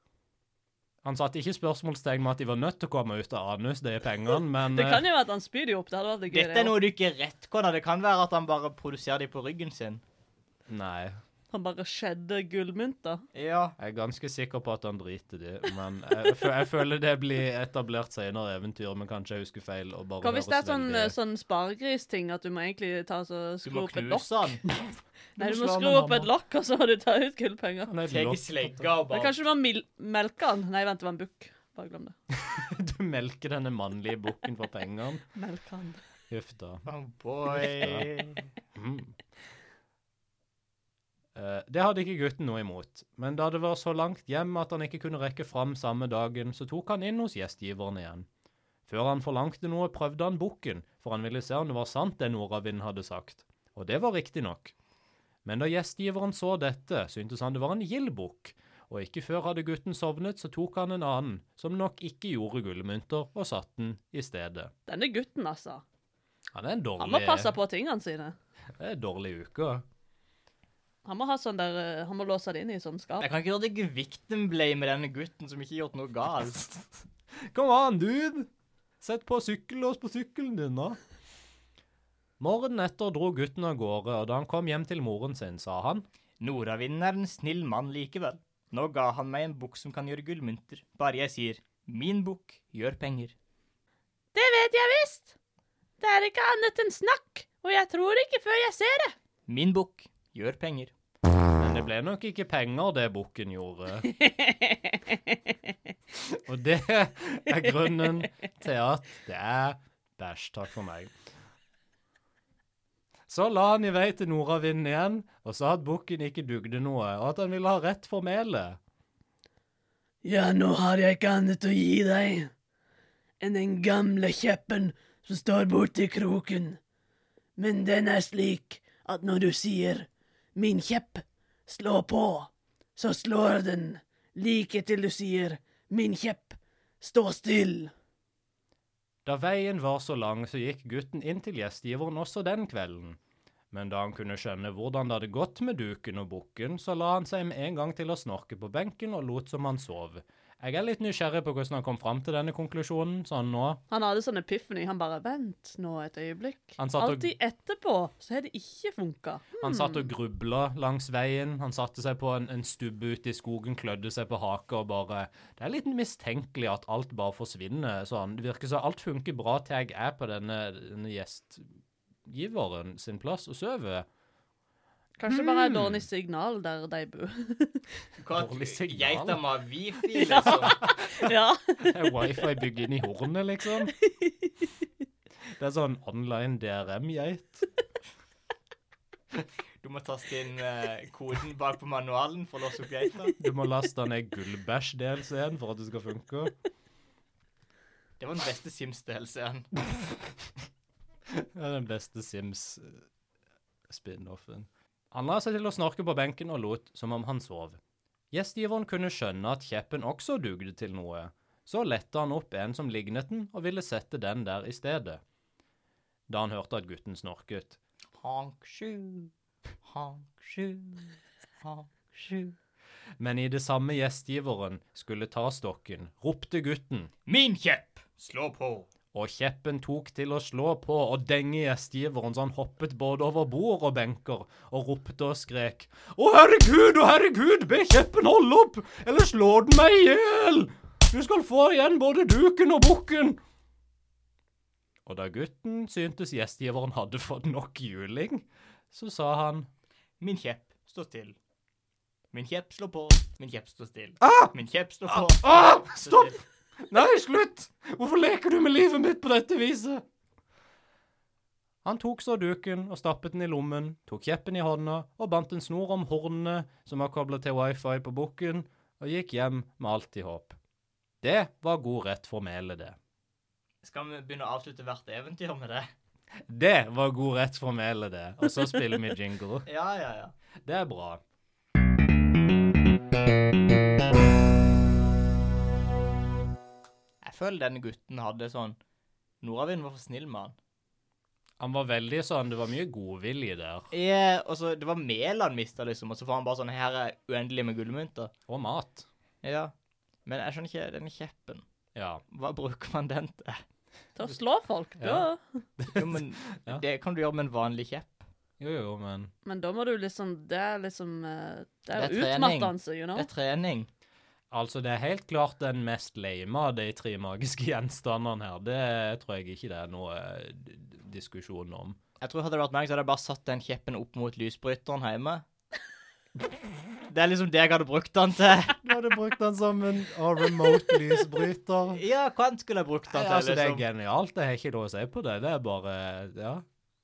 [SPEAKER 1] Han satte ikke spørsmålstegn med at de var nødt til å komme ut av anus, det er
[SPEAKER 2] [laughs]
[SPEAKER 1] pengene, men
[SPEAKER 2] Det kan jo være at han spyr de opp. Det hadde vært litt gøy.
[SPEAKER 3] Dette
[SPEAKER 2] det
[SPEAKER 3] er
[SPEAKER 2] også.
[SPEAKER 3] noe du ikke retconner. Det kan være at han bare produserer de på ryggen sin.
[SPEAKER 1] eh, Nei.
[SPEAKER 2] Han bare skjedde gullmynter.
[SPEAKER 3] Ja.
[SPEAKER 1] Jeg er ganske sikker på at han driter de, men jeg, fø- jeg føler det blir etablert senere i eventyret, men kanskje jeg husker feil og bare
[SPEAKER 2] Hva hvis det er
[SPEAKER 1] høres
[SPEAKER 2] sånn,
[SPEAKER 1] veldig-
[SPEAKER 2] sånn sparegristing at du må egentlig ta så
[SPEAKER 3] Du
[SPEAKER 2] skru
[SPEAKER 3] må
[SPEAKER 2] opp et lokk?
[SPEAKER 3] knuse han.
[SPEAKER 2] Nei,
[SPEAKER 1] slå
[SPEAKER 2] du må
[SPEAKER 1] han
[SPEAKER 2] skru
[SPEAKER 1] med
[SPEAKER 2] opp et
[SPEAKER 1] hammer.
[SPEAKER 2] lokk, og så må du ta ut gullpenger.
[SPEAKER 1] Nei,
[SPEAKER 3] Tar
[SPEAKER 1] lokk-
[SPEAKER 3] slegga og
[SPEAKER 2] Men
[SPEAKER 3] bare
[SPEAKER 2] kanskje du må mil melke han? Nei, vent, det var en bukk. Bare glem det.
[SPEAKER 1] [laughs] Du melker denne mannlige bukken for pengene.
[SPEAKER 2] Melke han.
[SPEAKER 1] Huff da.
[SPEAKER 3] Oh boy.
[SPEAKER 1] Mm. Eh, Det hadde ikke gutten noe imot, men da det var så langt hjem at han ikke kunne rekke fram samme dagen, så tok han inn hos gjestgiveren igjen. Før han forlangte noe, prøvde han bukken, for han ville se om det var sant det nordavinden hadde sagt. Og det var riktig nok. Men da gjestgiveren så dette, syntes han det var en gild bukk, og ikke før hadde gutten sovnet, så tok han en annen, som nok ikke gjorde gullmynter, og satte den i stedet.
[SPEAKER 2] Denne gutten, altså.
[SPEAKER 1] Han er en dårlig,
[SPEAKER 2] Han må passe på tingene sine.
[SPEAKER 1] det er en dårlig uke.
[SPEAKER 2] Han må ha sånn der eh, Han må låse det inn i sånn skap.
[SPEAKER 3] Jeg kan ikke gjøre deg victim-blame denne gutten som ikke har gjort noe galt.
[SPEAKER 1] Come on, dude! Sett på sykkellås på sykkelen din, da. Morgenen etter dro gutten av gårde, og da han kom hjem til moren sin, sa han
[SPEAKER 3] Nordavinden er en snill mann likevel. Nå ga han meg en bukk som kan gjøre gullmynter, bare jeg sier 'min bukk gjør penger'.
[SPEAKER 2] Det vet jeg visst! Det er ikke annet enn snakk, og jeg tror ikke før jeg ser det.
[SPEAKER 3] Min bukk gjør penger.
[SPEAKER 1] Men det ble nok ikke penger, det bukken [laughs] gjorde. Og det er grunnen til at det er bæsj. Takk for meg. Så la han i vei til nordavinden igjen og sa at bukken ikke dugde noe, og at han ville ha rett for melet.
[SPEAKER 5] Ja, nå har jeg ikke annet å gi deg enn den gamle kjeppen som står borti kroken. Men den er slik at når du sier 'min kjepp, slå på', så slår den like til du sier 'min kjepp, stå still'.
[SPEAKER 1] Da veien var så lang, så gikk gutten inn til gjestgiveren også den kvelden. Men da han kunne skjønne hvordan det hadde gått med duken og bukken, så la han seg med en gang til å snorke på benken og lot som han sov. Jeg er litt nysgjerrig på hvordan han kom fram til denne konklusjonen, sånn nå.
[SPEAKER 2] Han hadde sånn epiphany. Han bare Vent nå et øyeblikk.
[SPEAKER 1] Han satt og-
[SPEAKER 2] Alltid etterpå så har det ikke funka.
[SPEAKER 1] Han satt og grubla langs veien, han satte seg på en, en stubbe ute i skogen, klødde seg på haka og bare Det er litt mistenkelig at alt bare forsvinner sånn. Det virker som alt funker bra til jeg er på denne, denne gjestgiveren sin plass og sover.
[SPEAKER 2] Kanskje bare et dårlig signal der de bor. [laughs]
[SPEAKER 1] Dårlig signal.
[SPEAKER 3] med [laughs] wifi, liksom.
[SPEAKER 2] ja.
[SPEAKER 1] Det er wifi bygd inn i hornet, liksom. Det er sånn online DRM-geit.
[SPEAKER 3] Du må taste inn eh, koden bak på manualen for å låse opp geita.
[SPEAKER 1] Du må laste ned Gullbæsj-DLC-en for at det skal funke.
[SPEAKER 3] Det var den beste Sims-delsen.
[SPEAKER 1] Det er den beste Sims-spin-offen. Han la seg til å snorke på benken og lot som om han sov. Gjestgiveren kunne skjønne at kjeppen også dugde til noe. Så lette han opp en som lignet den, og ville sette den der i stedet. Da han hørte at gutten snorket.
[SPEAKER 3] Honk sju, honk sju, honk sju.
[SPEAKER 1] Men i det samme gjestgiveren skulle ta stokken, ropte gutten.
[SPEAKER 3] Min kjepp! Slå på.
[SPEAKER 1] Og kjeppen tok til å slå på og denge gjestgiveren, så han hoppet både over bord og benker, og ropte og skrek. Å, herregud, å, herregud, be kjeppen holde opp, eller slår den meg i hjel! Du skal få igjen både duken og bukken! Og da gutten syntes gjestgiveren hadde fått nok juling, så sa han
[SPEAKER 3] Min kjepp står still. Min kjepp slår på. Min kjepp står still. Min kjepp slår på.
[SPEAKER 1] Ah, stopp!
[SPEAKER 3] Står still.
[SPEAKER 1] Nei, slutt! Hvorfor leker du med livet mitt på dette viset? Han tok så duken og stappet den i lommen, tok kjeppen i hånda og bandt en snor om hornene som var kobla til wifi på bukken, og gikk hjem med alt i håp. Det var god rett for melet, det.
[SPEAKER 3] Skal vi begynne å avslutte hvert eventyr med det?
[SPEAKER 1] Det var god rett fra melet, det. Og så spiller vi jingle.
[SPEAKER 3] Ja, ja, ja.
[SPEAKER 1] Det er bra.
[SPEAKER 3] Jeg føler denne gutten hadde sånn Nordavind var for snill med han.
[SPEAKER 1] Han var veldig sånn Det var mye godvilje der.
[SPEAKER 3] Ja, og så, det var mel han mista, liksom, og så får han bare sånn Her er uendelig med gullmynter.
[SPEAKER 1] Og mat.
[SPEAKER 3] Ja. Men jeg skjønner ikke den kjeppen.
[SPEAKER 1] Ja.
[SPEAKER 3] Hva bruker man den til?
[SPEAKER 2] Til å slå folk, da.
[SPEAKER 1] Ja.
[SPEAKER 3] Jo, [laughs] men
[SPEAKER 1] Ja.
[SPEAKER 3] Det kan du gjøre med en vanlig kjepp.
[SPEAKER 1] Jo, jo, men
[SPEAKER 2] Men da må du liksom Det er liksom eh, Det er
[SPEAKER 3] Det
[SPEAKER 2] jo
[SPEAKER 3] er trening.
[SPEAKER 2] utmattende, you know.
[SPEAKER 3] Det er trening.
[SPEAKER 1] Altså, det er helt klart den mest lame av de tre magiske [laughs] gjenstandene her. Det tror jeg ikke det er noe eh, d- d- diskusjon om.
[SPEAKER 3] Jeg tror hadde det vært meg, så hadde jeg bare satt den kjeppen opp mot lysbryteren hjemme. Det er liksom det jeg hadde brukt den til.
[SPEAKER 1] Du hadde brukt den som en remote [laughs] lysbryter.
[SPEAKER 3] Ja, hva annet skulle jeg brukt den til?
[SPEAKER 1] altså, det er
[SPEAKER 3] liksom?
[SPEAKER 1] genialt. Det er ikke noe å si på det. Det er bare Ja.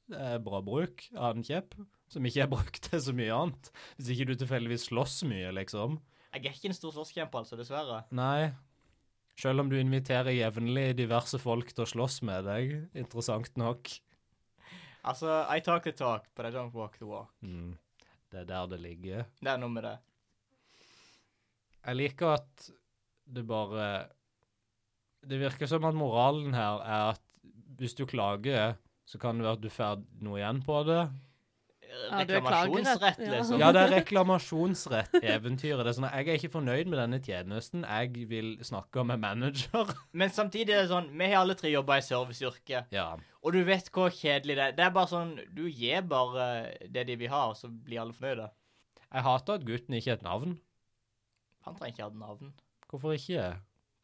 [SPEAKER 1] Det er bra bruk av en kjepp, som ikke er brukt til så mye annet. Hvis ikke du tilfeldigvis slåss mye, liksom.
[SPEAKER 3] Jeg er ikke en stor slåsskjemper, altså, dessverre.
[SPEAKER 1] Nei. Selv om du inviterer jevnlig diverse folk til å slåss med deg. Interessant nok.
[SPEAKER 3] Altså, I talk the talk, but I don't walk the walk.
[SPEAKER 1] Mm. Det er der det ligger.
[SPEAKER 3] Det er noe med det.
[SPEAKER 1] Jeg liker at det bare Det virker som at moralen her er at hvis du klager, så kan det være at du får noe igjen på det.
[SPEAKER 2] Ja, du er
[SPEAKER 3] Reklamasjonsrett,
[SPEAKER 2] klagerett, ja.
[SPEAKER 3] liksom.
[SPEAKER 1] Ja, det er reklamasjonsrett-eventyret. Det er sånn at Jeg er ikke fornøyd med denne tjenesten. Jeg vil snakke med manager.
[SPEAKER 3] Men samtidig er det sånn, vi har alle tre jobba i serviceyrket,
[SPEAKER 1] Ja.
[SPEAKER 3] og du vet hvor kjedelig det er. Det er bare sånn, du gir bare eh, det de vil ha, og så blir alle fornøyde.
[SPEAKER 1] Jeg hater at gutten ikke har et navn.
[SPEAKER 3] Han trenger ikke ha et navn.
[SPEAKER 1] Hvorfor ikke?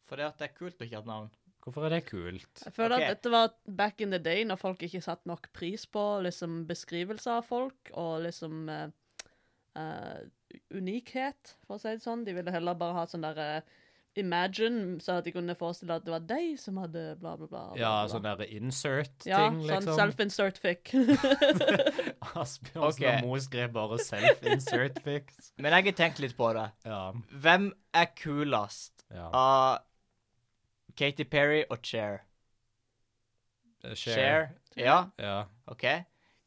[SPEAKER 3] For det at det er kult å ikke ha et navn.
[SPEAKER 1] Hvorfor er det kult?
[SPEAKER 2] Jeg føler
[SPEAKER 3] Ok.
[SPEAKER 2] at dette var back in the day, når folk ikke satte nok pris på liksom, beskrivelser av folk, og liksom eh, eh, unikhet, for å si det sånn. De ville heller bare ha sånn der eh, Imagine, så at de kunne forestille at det var deg som hadde bla, bla, bla. bla,
[SPEAKER 1] Ja,
[SPEAKER 2] bla.
[SPEAKER 1] sånn derre insert-ting,
[SPEAKER 2] ja, sånn
[SPEAKER 1] liksom.
[SPEAKER 2] self-insert fic.
[SPEAKER 1] [laughs]
[SPEAKER 2] [laughs]
[SPEAKER 1] Asbjørnsen
[SPEAKER 3] Ok.
[SPEAKER 1] og Moe skrev bare self-insert-fix.
[SPEAKER 3] Men jeg har tenkt litt på det.
[SPEAKER 1] Ja.
[SPEAKER 3] Hvem er kulest
[SPEAKER 1] ja.
[SPEAKER 3] av Katy Perry og Cher? Cher? Ja,
[SPEAKER 1] Ja.
[SPEAKER 3] OK.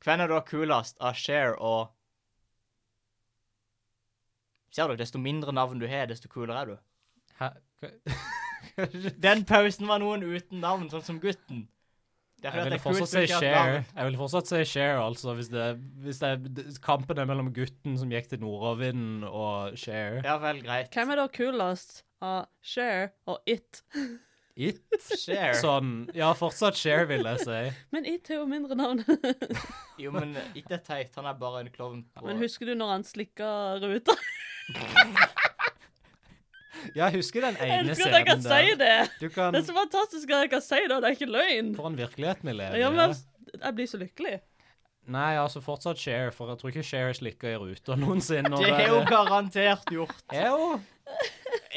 [SPEAKER 3] Hvem er da kulest av Cher og Ser du, desto mindre navn du har, desto kulere er du.
[SPEAKER 1] Hæ? [laughs] Hva-
[SPEAKER 3] Den pausen var noen uten navn, sånn som gutten. Det er fordi
[SPEAKER 1] Jeg
[SPEAKER 3] at
[SPEAKER 1] ville
[SPEAKER 3] det er kult
[SPEAKER 1] fortsatt si
[SPEAKER 3] å ikke ha et
[SPEAKER 1] share.
[SPEAKER 3] navn.
[SPEAKER 1] Jeg vil fortsatt si share, altså, hvis, det, hvis det, d- kampen er mellom gutten som gikk til Nordavinden og share.
[SPEAKER 3] Ja vel, greit.
[SPEAKER 2] Hvem er da kulest av Share og It?
[SPEAKER 1] It,
[SPEAKER 3] Share?
[SPEAKER 1] sånn, ja, fortsatt share, vil jeg si.
[SPEAKER 2] Men It er jo mindre navn. [laughs]
[SPEAKER 3] Jo, men ikke det er teit. Han er bare en klovn. på-
[SPEAKER 2] Men husker du når han slikka ruta?
[SPEAKER 1] [laughs] Ja, jeg husker den
[SPEAKER 2] Jeg
[SPEAKER 1] ene
[SPEAKER 2] elsker at jeg
[SPEAKER 1] scenen
[SPEAKER 2] kan si
[SPEAKER 1] der.
[SPEAKER 2] det!
[SPEAKER 1] Du kan,
[SPEAKER 2] Det er så fantastisk at jeg kan si det, og det er ikke løgn.
[SPEAKER 1] for en virkelighet vi lever
[SPEAKER 2] Ja,
[SPEAKER 1] i.
[SPEAKER 2] men jeg blir så lykkelig.
[SPEAKER 1] Nei, altså, fortsatt share, for jeg tror ikke share slikker i ruta noensinne. og
[SPEAKER 3] Det
[SPEAKER 1] er
[SPEAKER 3] har jo garantert gjort.
[SPEAKER 1] Jo.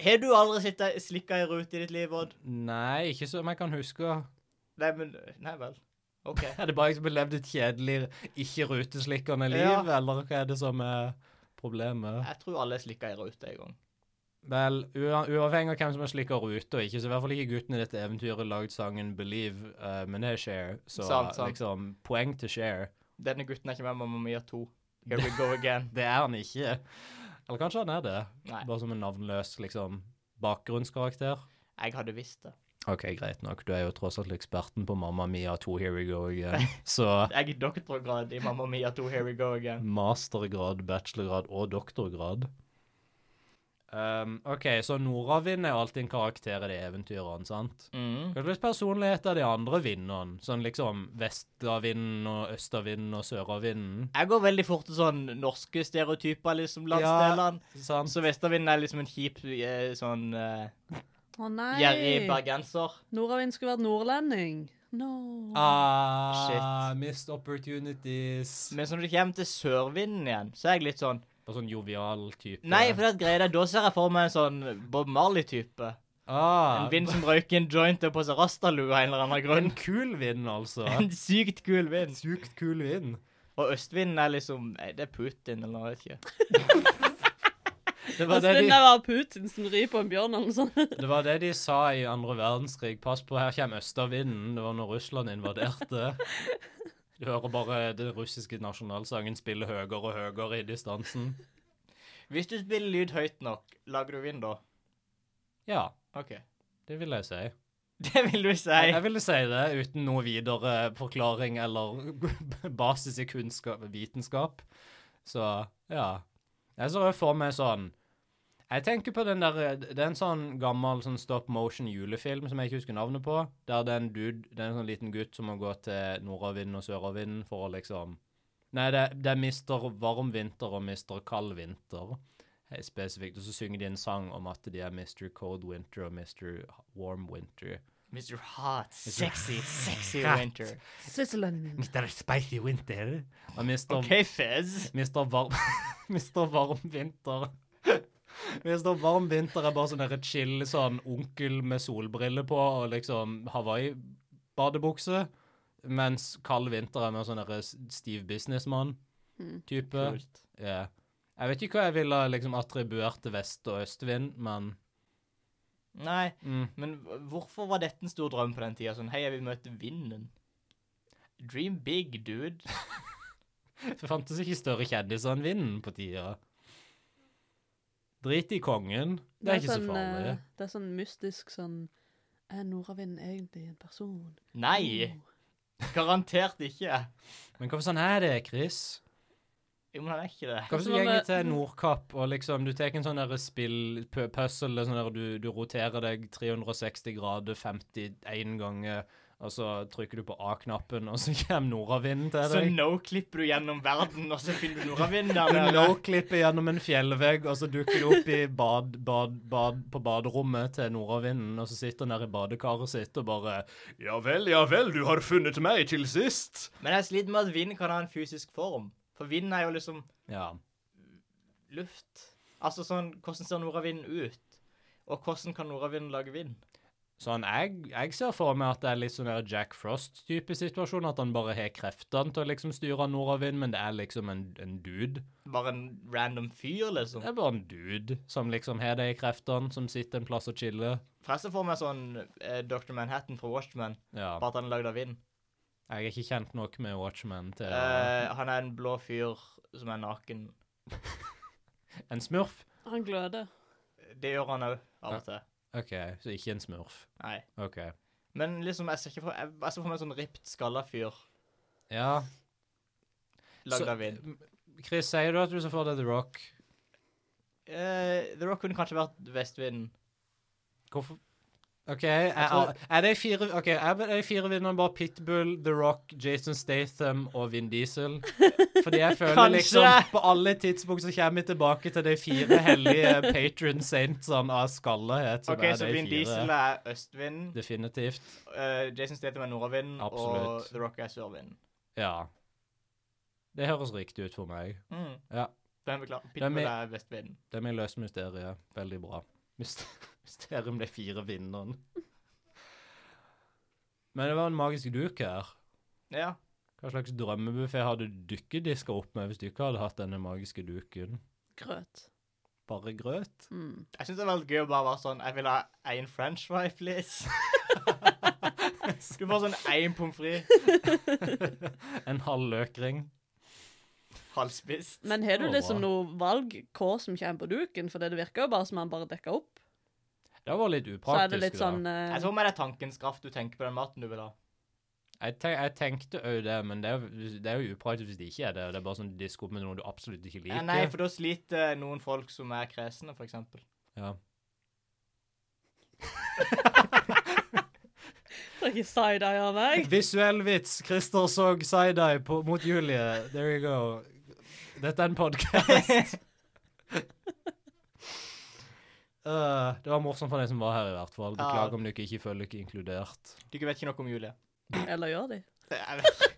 [SPEAKER 3] Har du aldri sittet slikka i rute i ditt liv, Odd?
[SPEAKER 1] Nei, ikke som jeg kan huske.
[SPEAKER 3] Nei, men Nei vel. [laughs] OK.
[SPEAKER 1] Er det bare jeg som har levd et kjedelig, ikke-ruteslikkende liv,
[SPEAKER 3] Ja.
[SPEAKER 1] eller hva er det som er problemet?
[SPEAKER 3] Jeg tror alle er slikka i rute en gang.
[SPEAKER 1] Vel, ua- uavhengig av hvem som har slikka rute og ikke, så i hvert fall ikke guttene i dette eventyret lagd sangen 'Believe', eh, men det er Share, så
[SPEAKER 3] Sant, sant.
[SPEAKER 1] liksom Poeng til Share.
[SPEAKER 3] Denne gutten er ikke med, mamma mi har to. Here we go [laughs] again.
[SPEAKER 1] Det er han ikke. Eller kanskje han er det,
[SPEAKER 3] Nei,
[SPEAKER 1] bare som en navnløs liksom bakgrunnskarakter.
[SPEAKER 3] jeg hadde visst det.
[SPEAKER 1] OK, greit nok, du er jo tross alt eksperten på Mamma Mia 2 Here We Go
[SPEAKER 3] [laughs]
[SPEAKER 1] Again, så
[SPEAKER 3] Jeg er doktorgrad i Mamma Mia 2 Here We Go Again.
[SPEAKER 1] mastergrad, bachelorgrad og doktorgrad. Um, OK, så Nordavind er alltid en karakter i de eventyrene, sant?
[SPEAKER 3] [laughs] Mm.
[SPEAKER 1] Hva slags personlighet er de andre vinnerne? Sånn liksom vestavinden og østavinden og søravinden?
[SPEAKER 3] Jeg går veldig fort til sånn norske stereotyper, liksom, landsdelene.
[SPEAKER 1] Sant?
[SPEAKER 3] Så Vestavinden er liksom en kjip eh, sånn eh,
[SPEAKER 2] Å nei!
[SPEAKER 3] gjerrig bergenser.
[SPEAKER 2] Nordavind skulle vært nordlending. No.
[SPEAKER 1] Ah, missed opportunities.
[SPEAKER 3] Men så når det kommer til sørvinden igjen, så er jeg litt sånn
[SPEAKER 1] Og sånn jovial type.
[SPEAKER 3] Nei, for det er greia der, da ser jeg for meg en sånn Bob Marley-type.
[SPEAKER 1] ah,
[SPEAKER 3] En vind som røyker en joint og på seg rastalue av [laughs] en eller annen grunn.
[SPEAKER 1] En kul vind, altså.
[SPEAKER 3] En sykt kul vind.
[SPEAKER 1] Sykt kul vind.
[SPEAKER 3] Og østvinden er liksom Nei, det er Putin eller noe, jeg vet ikke.
[SPEAKER 1] Det
[SPEAKER 3] Altså,
[SPEAKER 1] var det,
[SPEAKER 2] Østvind
[SPEAKER 1] de,
[SPEAKER 2] er bare Putin som rir på en bjørn eller noe sånt.
[SPEAKER 1] det var det de sa i andre verdenskrig. Pass på, her kommer østavinden. Det var når Russland invaderte. Du hører bare den russiske nasjonalsangen spille høyere og høyere i distansen.
[SPEAKER 3] Hvis du spiller lyd høyt nok, lager du vind da?
[SPEAKER 1] Ja,
[SPEAKER 3] OK. [laughs]
[SPEAKER 1] det vil jeg si.
[SPEAKER 3] Det vil du si.
[SPEAKER 1] Jeg, jeg ville si det uten noe videre forklaring eller [laughs] basis i kunnskap, vitenskap. Så ja. Jeg ser også for meg sånn Jeg tenker på den der Det er en sånn gammel sånn stop motion julefilm som jeg ikke husker navnet på. Der det er en dude, det er en sånn liten gutt som må gå til nordavinden og søravinden for å liksom Nei, det, det er mister varm vinter og mister kald vinter. Helt spesifikt. Og så synger de en sang om at de er Mr. Cold Winter og Mr. Warm Winter.
[SPEAKER 3] Mr. Hot, sexy, sexy
[SPEAKER 1] Hot.
[SPEAKER 3] winter.
[SPEAKER 2] Sizzling.
[SPEAKER 1] Mr. Spicy Winter. Og Mr.
[SPEAKER 3] OK, Fizz.
[SPEAKER 1] Mr. Varm, [laughs] Mr. Varm Vinter. [laughs] Mr. Varm Vinter er bare sånn der chill sånn onkel med solbriller på og liksom Hawaii-badebukse. Mens kald vinter er mer sånn der stiv businessmann-type.
[SPEAKER 3] Kult.
[SPEAKER 1] Ja. Jeg vet ikke hva jeg ville liksom attribuert til vest- og østvind, men
[SPEAKER 3] Nei,
[SPEAKER 1] mm.
[SPEAKER 3] men hvorfor var dette en stor drøm på den tida? Sånn, hei, jeg vil møte vinden. Dream big, dude.
[SPEAKER 1] Det fantes ikke større kjendiser enn vinden på tida. Drit i kongen. Det er, ikke
[SPEAKER 2] sånn,
[SPEAKER 1] så farlig.
[SPEAKER 2] eh, Det er sånn mystisk sånn Er nordavinden egentlig en person?
[SPEAKER 3] Nei,
[SPEAKER 2] [laughs] Oh.
[SPEAKER 3] garantert ikke.
[SPEAKER 1] Men hvorfor sånn er det, Chris?
[SPEAKER 3] Jo, men han er ikke det.
[SPEAKER 1] Hva hvis du
[SPEAKER 2] Sånn
[SPEAKER 1] går
[SPEAKER 2] at-
[SPEAKER 1] til Nordkapp og liksom du tar en sånn der spill, pu- puzzle, sånn der du, du roterer deg 360 grader 51 ganger, og så trykker du på A-knappen, og så kommer nordavinden til
[SPEAKER 3] Så
[SPEAKER 1] deg.
[SPEAKER 3] no-klipper du gjennom verden, og så finner du nordavinden
[SPEAKER 1] [laughs]
[SPEAKER 3] der
[SPEAKER 1] Du
[SPEAKER 3] nede.
[SPEAKER 1] no-klipper gjennom en fjellvegg, og så dukker du opp i bad, bad, bad, på baderommet til nordavinden, og så sitter han der i badekaret sitt og bare Ja vel, ja vel, du har funnet meg til sist.
[SPEAKER 3] Men jeg sliter med at vind kan ha en fysisk form. For vind er jo liksom
[SPEAKER 1] Ja.
[SPEAKER 3] luft. Altså sånn, hvordan ser nordavinden ut? Og hvordan kan nordavinden lage vind?
[SPEAKER 1] Sånn, jeg, jeg ser for meg at det er litt sånn der Jack Frost-type situasjon, at han bare har kreftene til å liksom styre nordavind, men det er liksom en, en dude.
[SPEAKER 3] Bare en random fyr, liksom?
[SPEAKER 1] Det er bare en dude som liksom har de kreftene, som sitter en plass og chiller.
[SPEAKER 3] Forresten får meg sånn eh, Dr. Manhattan fra Watchmen,
[SPEAKER 1] Ja.
[SPEAKER 3] bare at han er lagd av vind.
[SPEAKER 1] Jeg er ikke kjent nok med Watchmen til å-
[SPEAKER 3] Eh, han er en blå fyr som er naken.
[SPEAKER 1] En smurf?
[SPEAKER 2] Han gløder.
[SPEAKER 3] Det gjør han òg, av og til.
[SPEAKER 1] OK, så ikke en smurf.
[SPEAKER 3] Nei.
[SPEAKER 1] OK.
[SPEAKER 3] Men liksom, jeg ser ikke for, jeg, jeg ser for meg en sånn ripped, skalla fyr
[SPEAKER 1] Ja. Så-
[SPEAKER 3] lagd av vind.
[SPEAKER 1] Chris, sier du at du ser for deg The Rock?
[SPEAKER 3] Eh, The Rock kunne kanskje vært Vestvinden.
[SPEAKER 1] Hvorfor OK, er, er, er de fire ok, er er de fire vinnerne bare Pitbull, The Rock, Jason Statham og Vin Diesel? Fordi jeg føler
[SPEAKER 3] Kanskje.
[SPEAKER 1] liksom På alle tidspunkt så kommer vi tilbake til de fire hellige patron saintsene av skallehet. Som
[SPEAKER 3] OK,
[SPEAKER 1] er
[SPEAKER 3] så
[SPEAKER 1] de
[SPEAKER 3] Vin
[SPEAKER 1] fire.
[SPEAKER 3] Diesel er østvinden,
[SPEAKER 1] Definitivt.
[SPEAKER 3] eh, Jason Statham er nordavinden, og
[SPEAKER 1] Absolutt.
[SPEAKER 3] The Rock er sørvinden.
[SPEAKER 1] Ja. Det høres riktig ut for meg.
[SPEAKER 3] Mm.
[SPEAKER 1] Ja.
[SPEAKER 3] Den beklager.
[SPEAKER 1] er med-
[SPEAKER 3] Pitbull er vestvinden.
[SPEAKER 1] Det med løse mysteriet. Veldig bra. Myst- [laughs] Mysterium de fire vinnerne. Men det var en magisk duk her.
[SPEAKER 3] Ja.
[SPEAKER 1] Hva slags drømmebuffé hadde dere diska opp med hvis du ikke hadde hatt denne magiske duken?
[SPEAKER 2] Grøt.
[SPEAKER 1] Bare grøt? [laughs]
[SPEAKER 2] Mm.
[SPEAKER 3] Jeg syns det var gøy å bare være sånn Jeg vil ha én french fry,
[SPEAKER 1] [laughs]
[SPEAKER 3] please. du får sånn én pommes frites,
[SPEAKER 1] En halv løkring?
[SPEAKER 3] halvspist.
[SPEAKER 2] Men har
[SPEAKER 1] Det
[SPEAKER 2] du
[SPEAKER 1] var
[SPEAKER 2] liksom
[SPEAKER 1] bra.
[SPEAKER 2] noe valg hva som kommer på duken? For det virker jo bare som han bare dekker opp.
[SPEAKER 1] Det var litt
[SPEAKER 2] Så er
[SPEAKER 1] upraktisk,
[SPEAKER 2] det litt sånn eh,
[SPEAKER 3] Jeg tror med det er tankens kraft du tenker på den maten du vil ha.
[SPEAKER 1] da. Jeg, tenk, jeg tenkte òg det, men det er, jo- det er jo upraktisk hvis det ikke er det. og Det er bare sånn disk opp med noe du absolutt ikke liker.
[SPEAKER 3] Ja, Eh, nei, for da sliter eh, noen folk som er kresne,
[SPEAKER 1] [laughs]
[SPEAKER 3] for eksempel.
[SPEAKER 1] ja.
[SPEAKER 2] Trenger ikke side-eye av meg.
[SPEAKER 1] Visuell vits. Christer så side-eye på- mot Julie. There you go. Dette er en [laughs] podkast. Eh, det var morsomt for deg som var her, i hvert fall.
[SPEAKER 3] Ja.
[SPEAKER 1] Beklager om dere ikke føler dere inkludert.
[SPEAKER 3] Du vet ikke noe om Julie.
[SPEAKER 2] Eller gjør de?
[SPEAKER 3] Det er-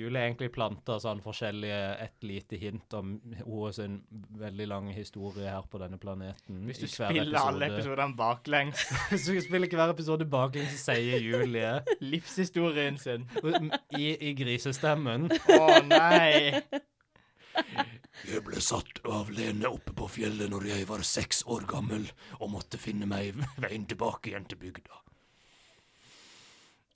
[SPEAKER 1] Julie er egentlig planta sånn forskjellige et lite hint om hennes sin veldig lang historie her på denne planeten.
[SPEAKER 3] Hvis du
[SPEAKER 1] i hver
[SPEAKER 3] spiller alle
[SPEAKER 1] episode.
[SPEAKER 3] episodene baklengs,
[SPEAKER 1] [laughs] Hvis du spiller hver episode baklengs, så sier Julie
[SPEAKER 3] livshistorien
[SPEAKER 1] [laughs]
[SPEAKER 3] sin
[SPEAKER 1] i, i grisestemmen
[SPEAKER 3] Å nei!
[SPEAKER 4] Jeg ble satt av Lene oppe på fjellet når jeg var seks år gammel, og måtte finne meg veien tilbake igjen til bygda.